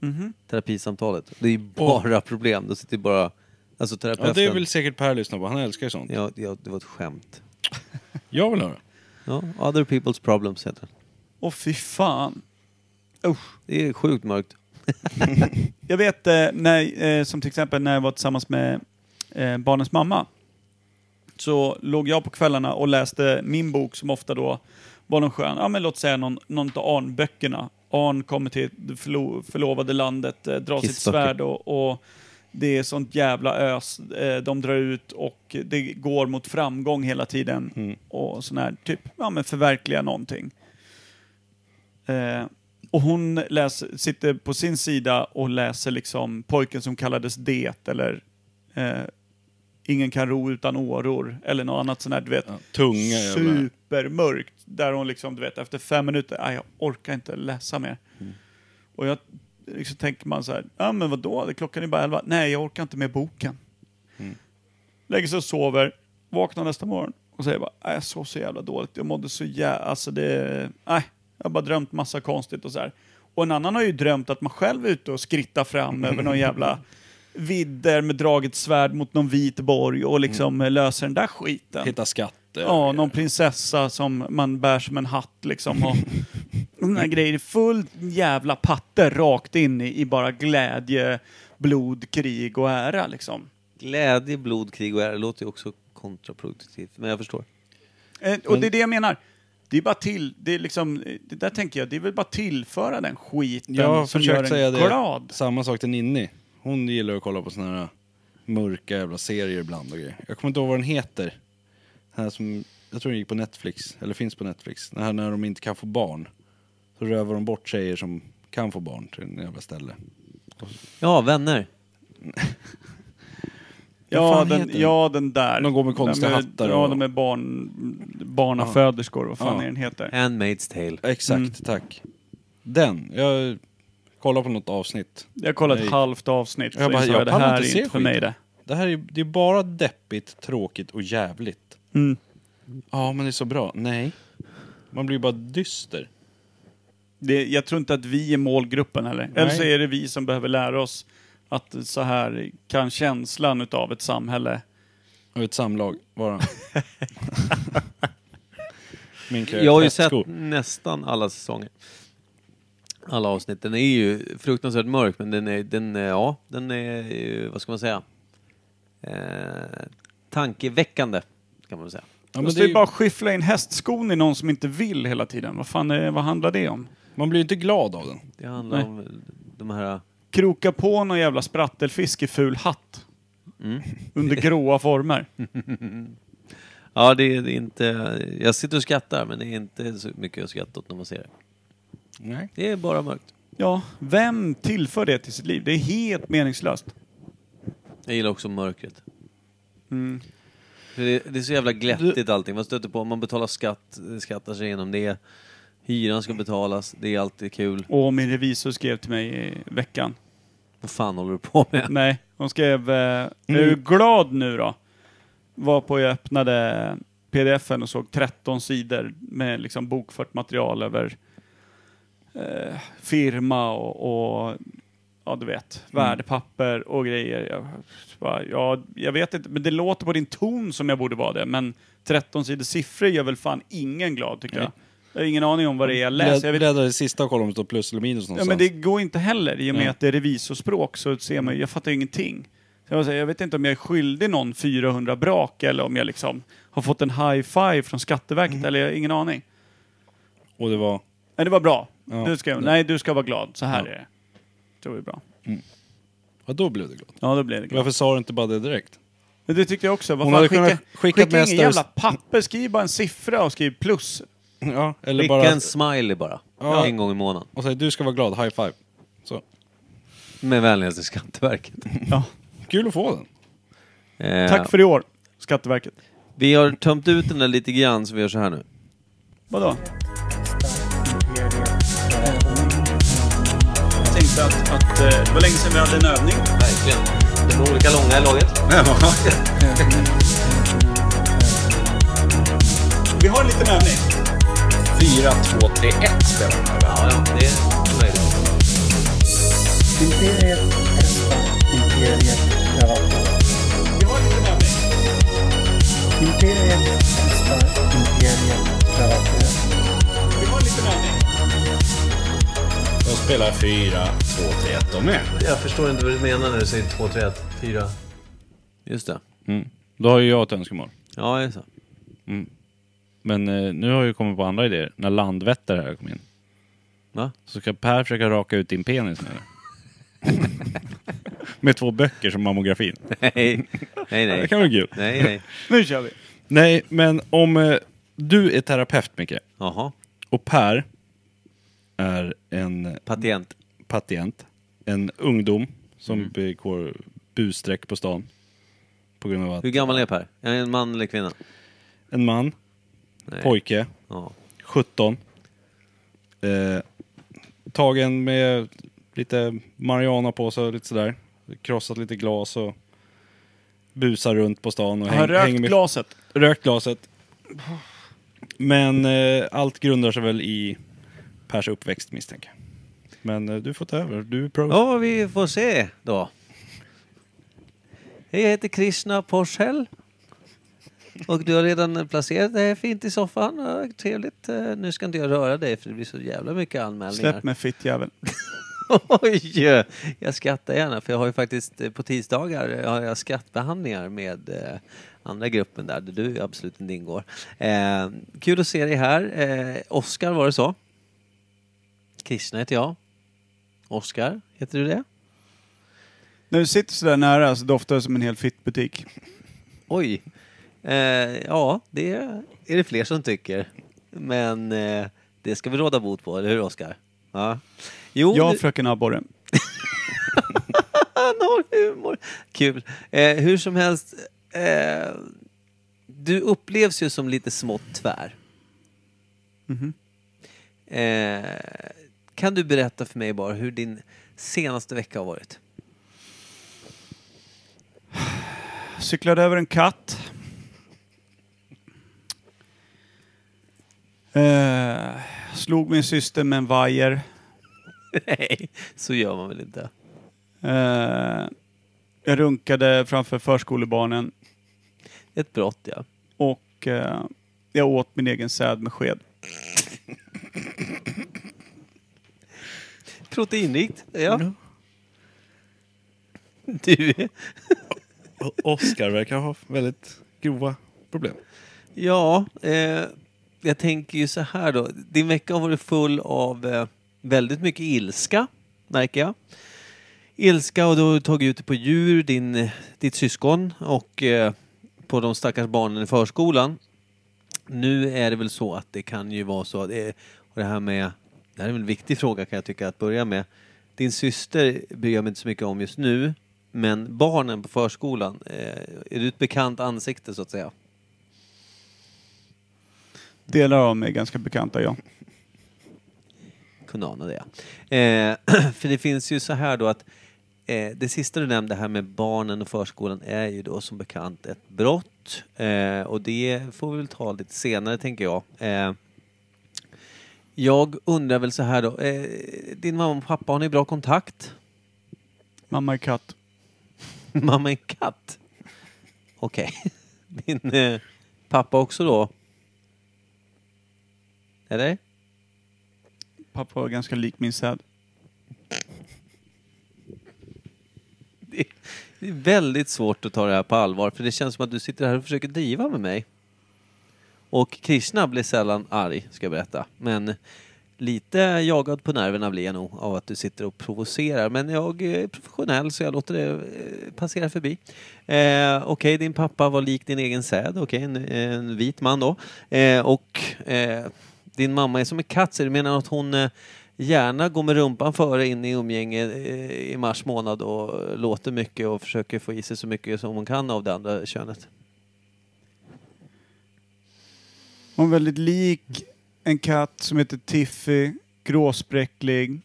S4: Mhm. terapisamtalet. Det är ju bara problem, då sitter ju bara, alltså
S2: Ja,
S4: terapeuten.
S2: det vill säkert Per lyssna på. Han älskar ju sånt.
S4: ja, ja, det var ett skämt.
S2: Jag vill höra.
S4: Ja, Other People's Problems heter den.
S3: Åh fy fan. Usch.
S4: Det är sjukt mörkt.
S3: Jag vet eh, när, eh, som till exempel när jag var tillsammans med eh, barnens mamma. Så låg jag på kvällarna och läste min bok som ofta då var någon skön, ja men låt säga någon, någon av Arn-böckerna. Arn kommer till det förlo, förlovade landet, eh, drar sitt
S4: Kissböcker.
S3: svärd och, och det är sånt jävla ös. Eh, de drar ut och det går mot framgång hela tiden. Och sån här, typ, ja men förverkliga någonting. Eh, och hon läser, sitter på sin sida och läser liksom pojken som kallades Det eller eh, Ingen kan ro utan åror eller något annat sånt här, du vet.
S2: Ja, tunga jävla...
S3: supermörkt. Där hon liksom, du vet, efter fem minuter, "Aj, jag orkar inte läsa mer.
S2: Mm.
S3: Och jag liksom tänker man så här, ja men vadå, klockan är bara elva. Nej, jag orkar inte med boken.
S2: Mm.
S3: Lägger sig och sover, vaknar nästa morgon och säger bara, "Aj, jag sov så jävla dåligt, jag mådde så jävla, alltså det, nej, jag har bara drömt massa konstigt och så här. Och en annan har ju drömt att man själv är ute och skrittar fram över någon jävla vidder med draget svärd mot någon vit borg och liksom
S2: Mm.
S3: eh, löser den där skiten.
S2: Hitta skatter.
S3: Ja, någon prinsessa som man bär som en hatt liksom. Och den här grejen är fullt jävla patte rakt in i, i bara glädje, blod, krig och ära liksom.
S4: Glädje, blod, krig och ära låter ju också kontraproduktivt, men jag förstår.
S3: Eh, och det är det jag menar. Det är bara till, det är liksom, eh, det där tänker jag, det är väl bara tillföra den skiten
S2: Jag har
S3: som gör
S2: försökt
S3: en
S2: säga det.
S3: glad.
S2: Samma sak till Ninni. Hon gillar att kolla på såna här mörka jävla serier ibland och grejer. Jag kommer inte ihåg vad den heter. Den här som, jag tror den gick på Netflix, eller finns på Netflix. Den här när de inte kan få barn. Så rövar de bort tjejer som kan få barn till en jävla ställe.
S4: Ja, vänner.
S2: Vad
S3: Ja
S2: fan
S3: den,
S2: heter den?
S3: ja, den där.
S2: De går med konstiga
S3: de är,
S2: hattar
S3: Ja,
S2: och-
S3: de är barn, barnaföderskor, vad fan
S2: Ja.
S3: är den heter.
S4: Handmaid's tale.
S2: Exakt, tack. Den. Jag kollade på något avsnitt.
S3: Jag kollade
S2: Nej.
S3: ett halvt avsnitt, så
S2: Jag bara,
S3: insåg
S2: jag
S3: jag, det
S2: pallar
S3: här
S2: inte
S3: är
S2: se
S3: inte för mig
S2: skiten.
S3: det.
S2: Det här är, det är bara deppigt, tråkigt och jävligt.
S3: Mm.
S2: Ja, men det är så bra. Nej. Man blir bara dyster.
S3: det, jag tror inte att vi är målgruppen heller. Eller så är det vi som behöver lära oss att så här kan känslan utav ett samhälle...
S2: Och ett samlag bara. Min
S4: Jag har ju sett nästan alla säsonger. Alla avsnitt. Den är ju fruktansvärt mörk, men den är, den är, ja, den är ju, vad ska man säga, eh, tankeväckande, kan man väl säga.
S2: Ja,
S3: Ja,
S2: men
S3: det
S2: det är,
S3: är
S2: ju-
S3: bara att skyffla in hästskon i någon som inte vill hela tiden. Vad fan är, vad handlar det om?
S2: man blir ju inte glad av den.
S4: Det handlar
S3: Nej.
S4: om de här,
S3: Kroka på någon jävla sprattelfisk i ful hatt. Under gråa former.
S4: ja det är inte, jag sitter och skrattar, men det är inte så mycket att skratta åt när man ser det.
S2: Nej.
S4: Det är bara mörkt.
S3: Ja, vem tillför det till sitt liv? Det är helt meningslöst.
S4: Jag gillar också mörkret. För Det, det är så jävla glättigt allting. Man stöter på, man betalar skatt, skattar sig igenom det. Hyran ska betalas, det är alltid kul.
S3: Och min revisor skrev till mig i veckan.
S4: Vad fan håller du på med?
S3: Nej, hon skrev eh, Är du glad nu då? Var på jag öppnade pdfen och såg 13 sidor med liksom bokfört material över eh, firma och, och ja du vet, värdepapper och grejer. Jag, bara, ja, jag vet inte, men det låter på din ton som jag borde vara det, men 13 sidor siffror gör väl fan ingen glad tycker jag. Jag har ingen aning om vad det är jag
S2: Mm.
S3: läser. Jag vet
S2: Bläddrar i sista och kollar om det står plus eller minus
S3: Ja,
S2: någonstans.
S3: men det går inte heller. I och med
S2: Nej.
S3: att det är revisorspråk så ser man ju- jag fattar ju ingenting. Så jag, säga, jag vet inte om jag är skyldig någon 400 brak eller om jag liksom har fått en high-five från Skatteverket
S2: Mhm.
S3: eller jag har ingen aning.
S2: Och det var...
S3: Nej, det var bra.
S2: Ja.
S3: Du ska, nej, du ska vara glad. Så här är det. Det var ju bra.
S2: Ja, då blev du glad.
S3: Ja, då blev det glad.
S2: Varför sa du inte bara det direkt?
S3: Men det tyckte jag också. Vad
S2: Hon
S3: fan,
S2: hade
S3: skicka,
S2: kunnat skickat
S3: skicka
S2: med
S3: ingen jävla
S2: störst-
S3: papper. Skriv bara en siffra och skriv plus.
S2: Ja, eller
S4: Skicka
S2: bara...
S4: en smiley bara.
S2: Ja.
S4: En gång i månaden.
S2: Och säg du ska vara glad, high five. Så.
S4: Med vänligaste Skatteverket.
S2: Kul att få den.
S4: Eh,
S3: Tack för i år, Skatteverket.
S4: Vi har tömt ut den där lite grann, så vi gör så här nu.
S3: Vadå? Jag tänkte att, att eh, det var länge sedan vi hade en övning.
S4: Verkligen. De är olika långa i laget.
S3: Vi har en liten övning.
S4: Ja, ja, det är möjligt.
S8: Imperiet hästar, Imperiet privata.
S3: Vi har en liten övning.
S8: Imperiet hästar, Imperiet privata.
S3: Vi har en liten övning.
S9: Jag spelar 4, 2, 3, 1 och med.
S4: Jag förstår inte vad du menar när du säger 2, 3, 1, 4. Just det.
S2: Då har ju jag ett önskemål.
S4: Ja, det är så.
S2: Men eh, nu har jag ju kommit på andra idéer. När Landvetter här kom in.
S4: Va?
S2: Så ska Per försöka raka ut din penis nu. Med två böcker som mammografin.
S4: Nej, nej.
S2: Det
S4: Nej,
S2: kan vara kul.
S4: nej. nej.
S3: Nu kör vi.
S2: Nej, men om eh, du är terapeut, Micke,
S4: Jaha.
S2: och Per är en
S4: Patient.
S3: Mm.
S2: patient, en ungdom som begår busstreck på stan, på på grund av att
S4: Hur gammal är Per? Är han en man eller kvinna?
S2: en man,
S4: Nej.
S2: pojke,
S4: Ja.
S2: 17. Eh, tagen med lite marijuana på sig och lite sådär. Krossat lite glas och busar runt på stan och
S3: Har han
S2: häng,
S3: rökt
S2: hänger med
S3: glaset?
S2: rökt glaset. Men eh, allt grundar sig väl i Pers uppväxt misstänker jag. Men eh, du får ta över, du är pro.
S4: ja, vi får se då. Hej, jag heter Krishna Porshäll. Och du har redan placerat dig fint i soffan. Ja, Trevligt. Eh, Nu ska inte jag röra dig för det blir så jävla mycket anmälningar.
S3: Släpp mig fittjäveln.
S4: Oj! eh, Jag skrattar gärna för jag har ju faktiskt eh, på tisdagar eh, har jag skrattbehandlingar med eh, andra gruppen där, där du absolut inte ingår. Eh, kul att se dig här. Eh, Oskar var det så? Krishna heter jag. Oskar, heter du det?
S3: När du sitter sådär nära så doftar det som en hel fittbutik.
S4: Oj! Eh, ja, det är det fler som tycker. Men eh, det ska vi råda bot på, eller hur Oskar? Ja. Jo,
S3: Jag
S4: du-
S3: fröken abborre.
S4: Han har humor. Kul. Eh, hur som helst. Eh, du upplevs ju som lite smått tvär. Eh, kan du berätta för mig bara hur din senaste vecka har varit?
S3: Cyklade över en katt. Eh, slog min syster med en vajer.
S4: Nej, så gör man väl inte?
S3: Eh, jag runkade framför förskolebarnen
S4: Ett brott, ja.
S3: och eh, jag åt min egen säd med sked.
S4: Proteinrikt, ja. Du,
S2: Oskar verkar ha väldigt grova problem.
S4: ja. Eh, jag tänker ju så här då. Din vecka har varit full av eh, väldigt mycket ilska, märker jag. ilska och du har tagit ut det på djur, din, ditt syskon och eh, på de stackars barnen i förskolan. Nu är det väl så att det kan ju vara så, det, och det här med, det här är väl en viktig fråga kan jag tycka att börja med. Din syster bryr jag mig inte så mycket om just nu, men barnen på förskolan, eh, är du ett bekant ansikte så att säga?
S3: Delar av mig är ganska bekanta, ja.
S4: kunna ana det. Eh, för det finns ju så här då att eh, det sista du nämnde här med barnen och förskolan är ju då som bekant ett brott eh, och det får vi väl ta lite senare tänker jag. Eh, jag undrar väl så här då, eh, din mamma och pappa, har ni bra kontakt?
S3: Mamma är katt.
S4: Mamma är en katt? Okej. Din eh, pappa också då? Eller?
S3: Pappa var ganska lik min säd.
S4: Det är- det är väldigt svårt att ta det här på allvar för det känns som att du sitter här och försöker driva med mig. Och Krishna blir sällan arg, ska jag berätta. Men lite jagad på nerverna blir jag nog av att du sitter och provocerar. Men jag är professionell så jag låter det eh, passera förbi. Eh, Okej, din pappa var lik din egen säd. Okej, en, en vit man då. Eh, och eh, din mamma är som en katt, så du menar att hon eh, gärna går med rumpan före in i umgänge eh, i mars månad och låter mycket och försöker få i sig så mycket som hon kan av det andra könet?
S3: Hon är väldigt lik en katt som heter Tiffy, gråspräcklig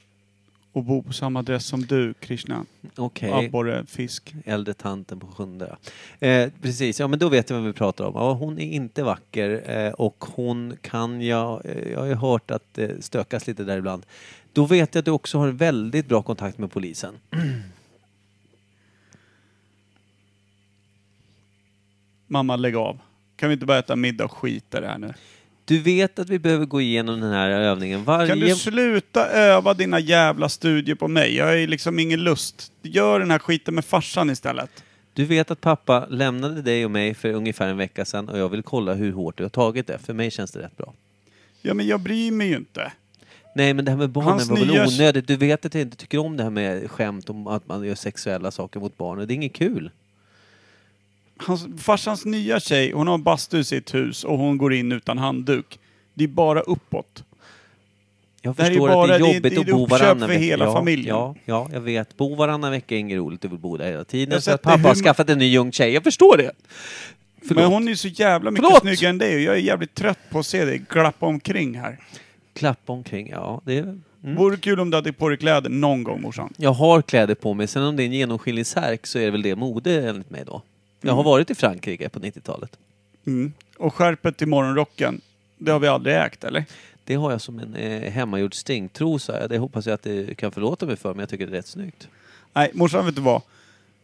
S3: och bor på samma adress som du, Krishna.
S4: Okej.
S3: Abborre, fisk.
S4: äldre tanten på sjunde. Eh, precis, ja men då vet jag vem vi pratar om. Ja, hon är inte vacker eh, och hon kan, jag, eh, jag har ju hört att eh, stökas lite där ibland. Då vet jag att du också har väldigt bra kontakt med polisen.
S3: Mamma, lägg av. Kan vi inte bara äta middag och skita i det här nu?
S4: Du vet att vi behöver gå igenom den här övningen
S3: Kan du
S4: varje...
S3: sluta öva dina jävla studier på mig? Jag har ju liksom ingen lust. Gör den här skiten med farsan istället.
S4: Du vet att pappa lämnade dig och mig för ungefär en vecka sedan och jag vill kolla hur hårt du har tagit det. För mig känns det rätt bra.
S3: Ja, men jag bryr mig ju inte.
S4: Nej men det här med barnen
S3: Hans
S4: var väl
S3: nya-
S4: onödigt. Du vet att jag inte tycker om det här med skämt om att man gör sexuella saker mot barn. och Det är inget kul.
S3: Hans, farsans nya tjej, hon har en bastu i sitt hus och hon går in utan handduk. Det är bara uppåt.
S4: Jag
S3: Det här är
S4: förstår
S3: bara-
S4: att det
S3: det
S4: är
S3: är-
S4: jobbigt
S3: det är
S4: att bo
S3: uppköp
S4: varannan
S3: för
S4: vecka.
S3: hela
S4: ja,
S3: familjen.
S4: Ja, ja, jag vet. Bo varannan vecka är inget roligt. Du vill bo där hela
S3: Jag har
S4: tiden. För
S3: sett
S4: att pappa
S3: det
S4: har
S3: hur-
S4: skaffat en ny ung tjej. Jag förstår det. Förlåt.
S3: Men hon är ju så jävla mycket
S4: Förlåt.
S3: snyggare än dig och jag är jävligt trött på att se dig glappa omkring här.
S4: Mm. Klappa omkring. Ja, det är... mm.
S3: Vore kul om du hade på dig kläder någon gång morsan.
S4: Jag har kläder på mig. Sen om det är en genomskinlig särk så är det väl det mode enligt mig då. Jag har varit i Frankrike på 90-talet.
S3: Mm. Och skärpet till morgonrocken, det har vi aldrig ägt eller?
S4: Det har jag som en eh, hemmagjord stingtrosa. Det hoppas jag att du kan förlåta mig för, men jag tycker det är rätt snyggt.
S3: Nej, morsan vet du vad?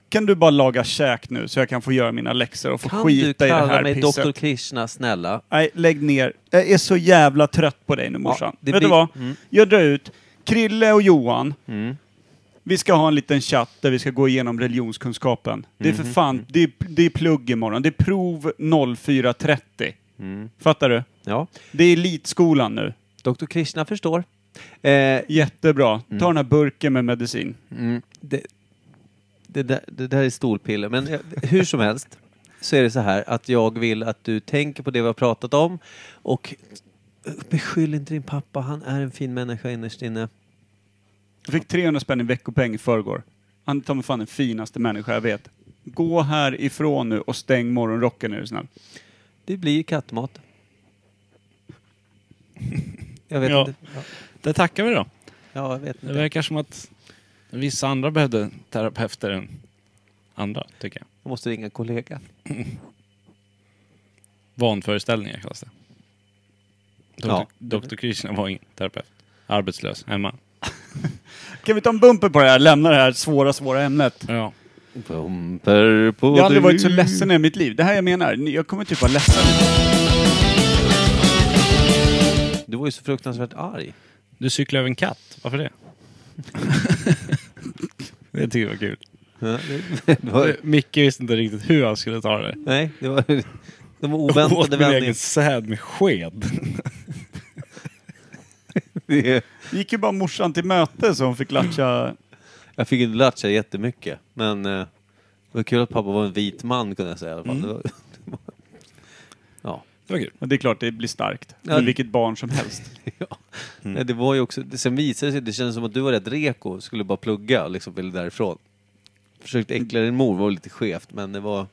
S3: Kan du bara laga käk nu så jag kan få göra mina läxor och få
S4: Kan du
S3: skita i det
S4: kalla
S3: här
S4: mig
S3: pisset?
S4: Dr. Krishna, snälla?
S3: Nej, lägg ner. Jag är så jävla trött på dig nu morsan.
S4: det
S3: Vet du
S4: blir-
S3: vad?
S4: Mm.
S3: Jag drar ut. Krille och Johan,
S4: Mm.
S3: vi ska ha en liten chatt där vi ska gå igenom religionskunskapen. Det är
S4: Mhm.
S3: för fan,
S4: Mm.
S3: det är, det är plugg imorgon. Det är prov 04.30.
S4: Mm.
S3: Fattar du?
S4: Ja,
S3: Det är elitskolan nu.
S4: Dr. Krishna förstår. Eh,
S3: Jättebra. Ta den här burken med medicin.
S4: Mm, det, det, där, det där är stolpiller, men jag, hur som helst så är det så här att jag vill att du tänker på det vi har pratat om och beskyll inte din pappa, han är en fin människa innerst inne.
S3: Jag fick 300 spänn i veckopeng i förrgår. Han är ta mig fan den finaste människa jag vet. Gå härifrån nu och stäng morgonrocken är du snäll.
S4: Det blir kattmat. Jag vet
S2: Ja.
S4: inte.
S2: Där tackar vi då.
S4: Ja, jag vet
S2: Det
S4: inte.
S2: verkar som att vissa andra behövde terapeuter än andra, tycker jag.
S4: Jag måste ringa en kollega.
S2: Vanföreställningar kallas det. Dr.
S4: Ja.
S2: Dr. Krishna var ingen terapeut. Arbetslös, hemma.
S3: Kan vi ta en bumper på det här? Lämna det här svåra, svåra ämnet.
S2: Ja.
S4: Bumper på
S3: Jag har aldrig varit så ledsen i hela mitt liv. Det här jag menar. Jag kommer typ vara ledsen.
S4: Du var ju så fruktansvärt arg.
S2: Du cyklade över en katt, varför det? det tycker jag var kul.
S4: Ja, det- det var-
S2: Micke visste inte riktigt hur han skulle ta det.
S4: Nej, det var... De var
S2: Åt
S4: oväntade
S2: min egen
S4: vändningar.
S2: säd med sked.
S4: Det är-
S3: Vi gick ju bara morsan till möte så hon fick latcha.
S4: Jag fick inte lärt sig jättemycket, men eh, det var kul att pappa var en vit man kunde jag säga i alla fall. Det var, ja.
S2: Det var kul.
S3: Och det är klart det blir starkt.
S4: Ja.
S3: För vilket barn som helst.
S4: ja. Nej, Det var ju också, det- sen visade det sig, det kändes som att du var rätt reko och skulle bara plugga och liksom ville därifrån. Försökte äckla din mor, var lite skevt men det var, ja,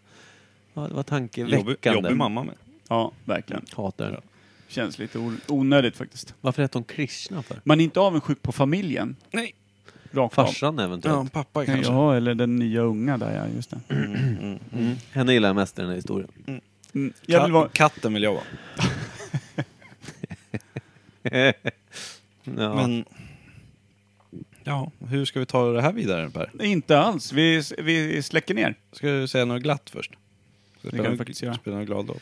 S4: det var
S2: Jobbig,
S4: tankeväckande.
S2: jobbig mamma med.
S3: Ja, verkligen.
S4: Hatar den.
S3: Känns lite o- onödigt faktiskt.
S4: Varför hette hon Krishna för?
S3: Man är inte avundsjuk på familjen.
S2: Nej.
S3: Rakt av.
S4: Farsan eventuellt.
S2: pappa
S3: Ja, eller den nya unga där ja, just det.
S4: Mm. Henne gillar jag mest i den här historien.
S3: Mm. Jag vill vara...
S2: Katten vill jag vara.
S4: Ja.
S2: Men... Ja, hur ska vi ta det här vidare Per?
S3: Inte alls. Vi, vi släcker ner.
S2: Ska du säga något glatt först? Ska
S3: kan vi faktiskt göra.
S2: Spela någon glad låt.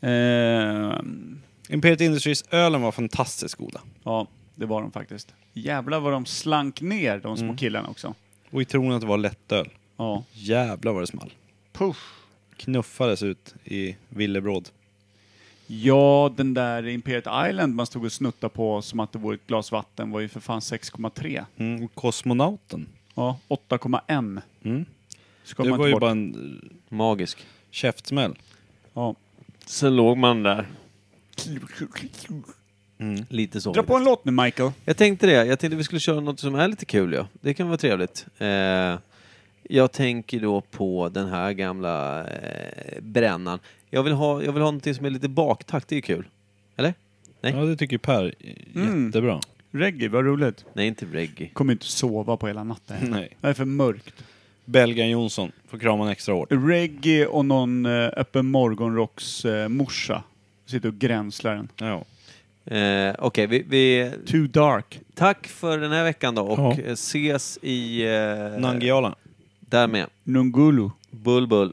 S3: Ehm,
S2: Imperiet Industries ölen var fantastiskt goda.
S3: ja, det var de faktiskt. Jävlar vad de slank ner, de små killarna också.
S2: Och i tron att det var lättöl.
S3: Ja.
S2: Jävlar vad det small.
S3: Puff.
S2: Knuffades ut i villebråd.
S3: Ja, den där Imperiet Island man stod och snuttade på som att det vore ett glas vatten var ju för fan 6,3.
S2: Mm. och Kosmonauten.
S3: Ja, 8,1.
S2: Mm.
S3: Ska
S2: Det
S3: man
S2: var
S3: inte
S2: ju
S3: bort.
S2: bara en eh,
S4: Magisk.
S2: käftsmäll.
S3: Ja.
S4: Sen låg man där. Lite så.
S3: Dra på en låt nu Michael.
S4: Jag tänkte det. Jag tänkte vi skulle köra något som är lite kul ja. Det kan vara trevligt. Eh, jag tänker då på den här gamla eh, brännan. Jag vill ha, jag vill ha någonting som är lite baktakt. Det är kul. Eller? Nej.
S2: Ja, det tycker Per. eh,
S3: Mm.
S2: Jättebra.
S3: Reggae, vad roligt. Mm.
S4: Nej, inte reggae.
S3: Kommer inte sova på hela natten.
S2: Nej.
S3: Det är för mörkt.
S2: Belgaren Jonsson får kraman extra hårt.
S3: reggae och någon eh, öppen morgonrocks eh, morsa. Sitter och gränslar den.
S2: Ja.
S4: Eh, Okej, vi, vi...
S3: Too dark.
S4: Tack för den här veckan då och
S2: Ja.
S4: eh, ses i... Eh,
S2: Nangijala.
S4: Där med.
S3: Nungulu.
S4: Bull, bull.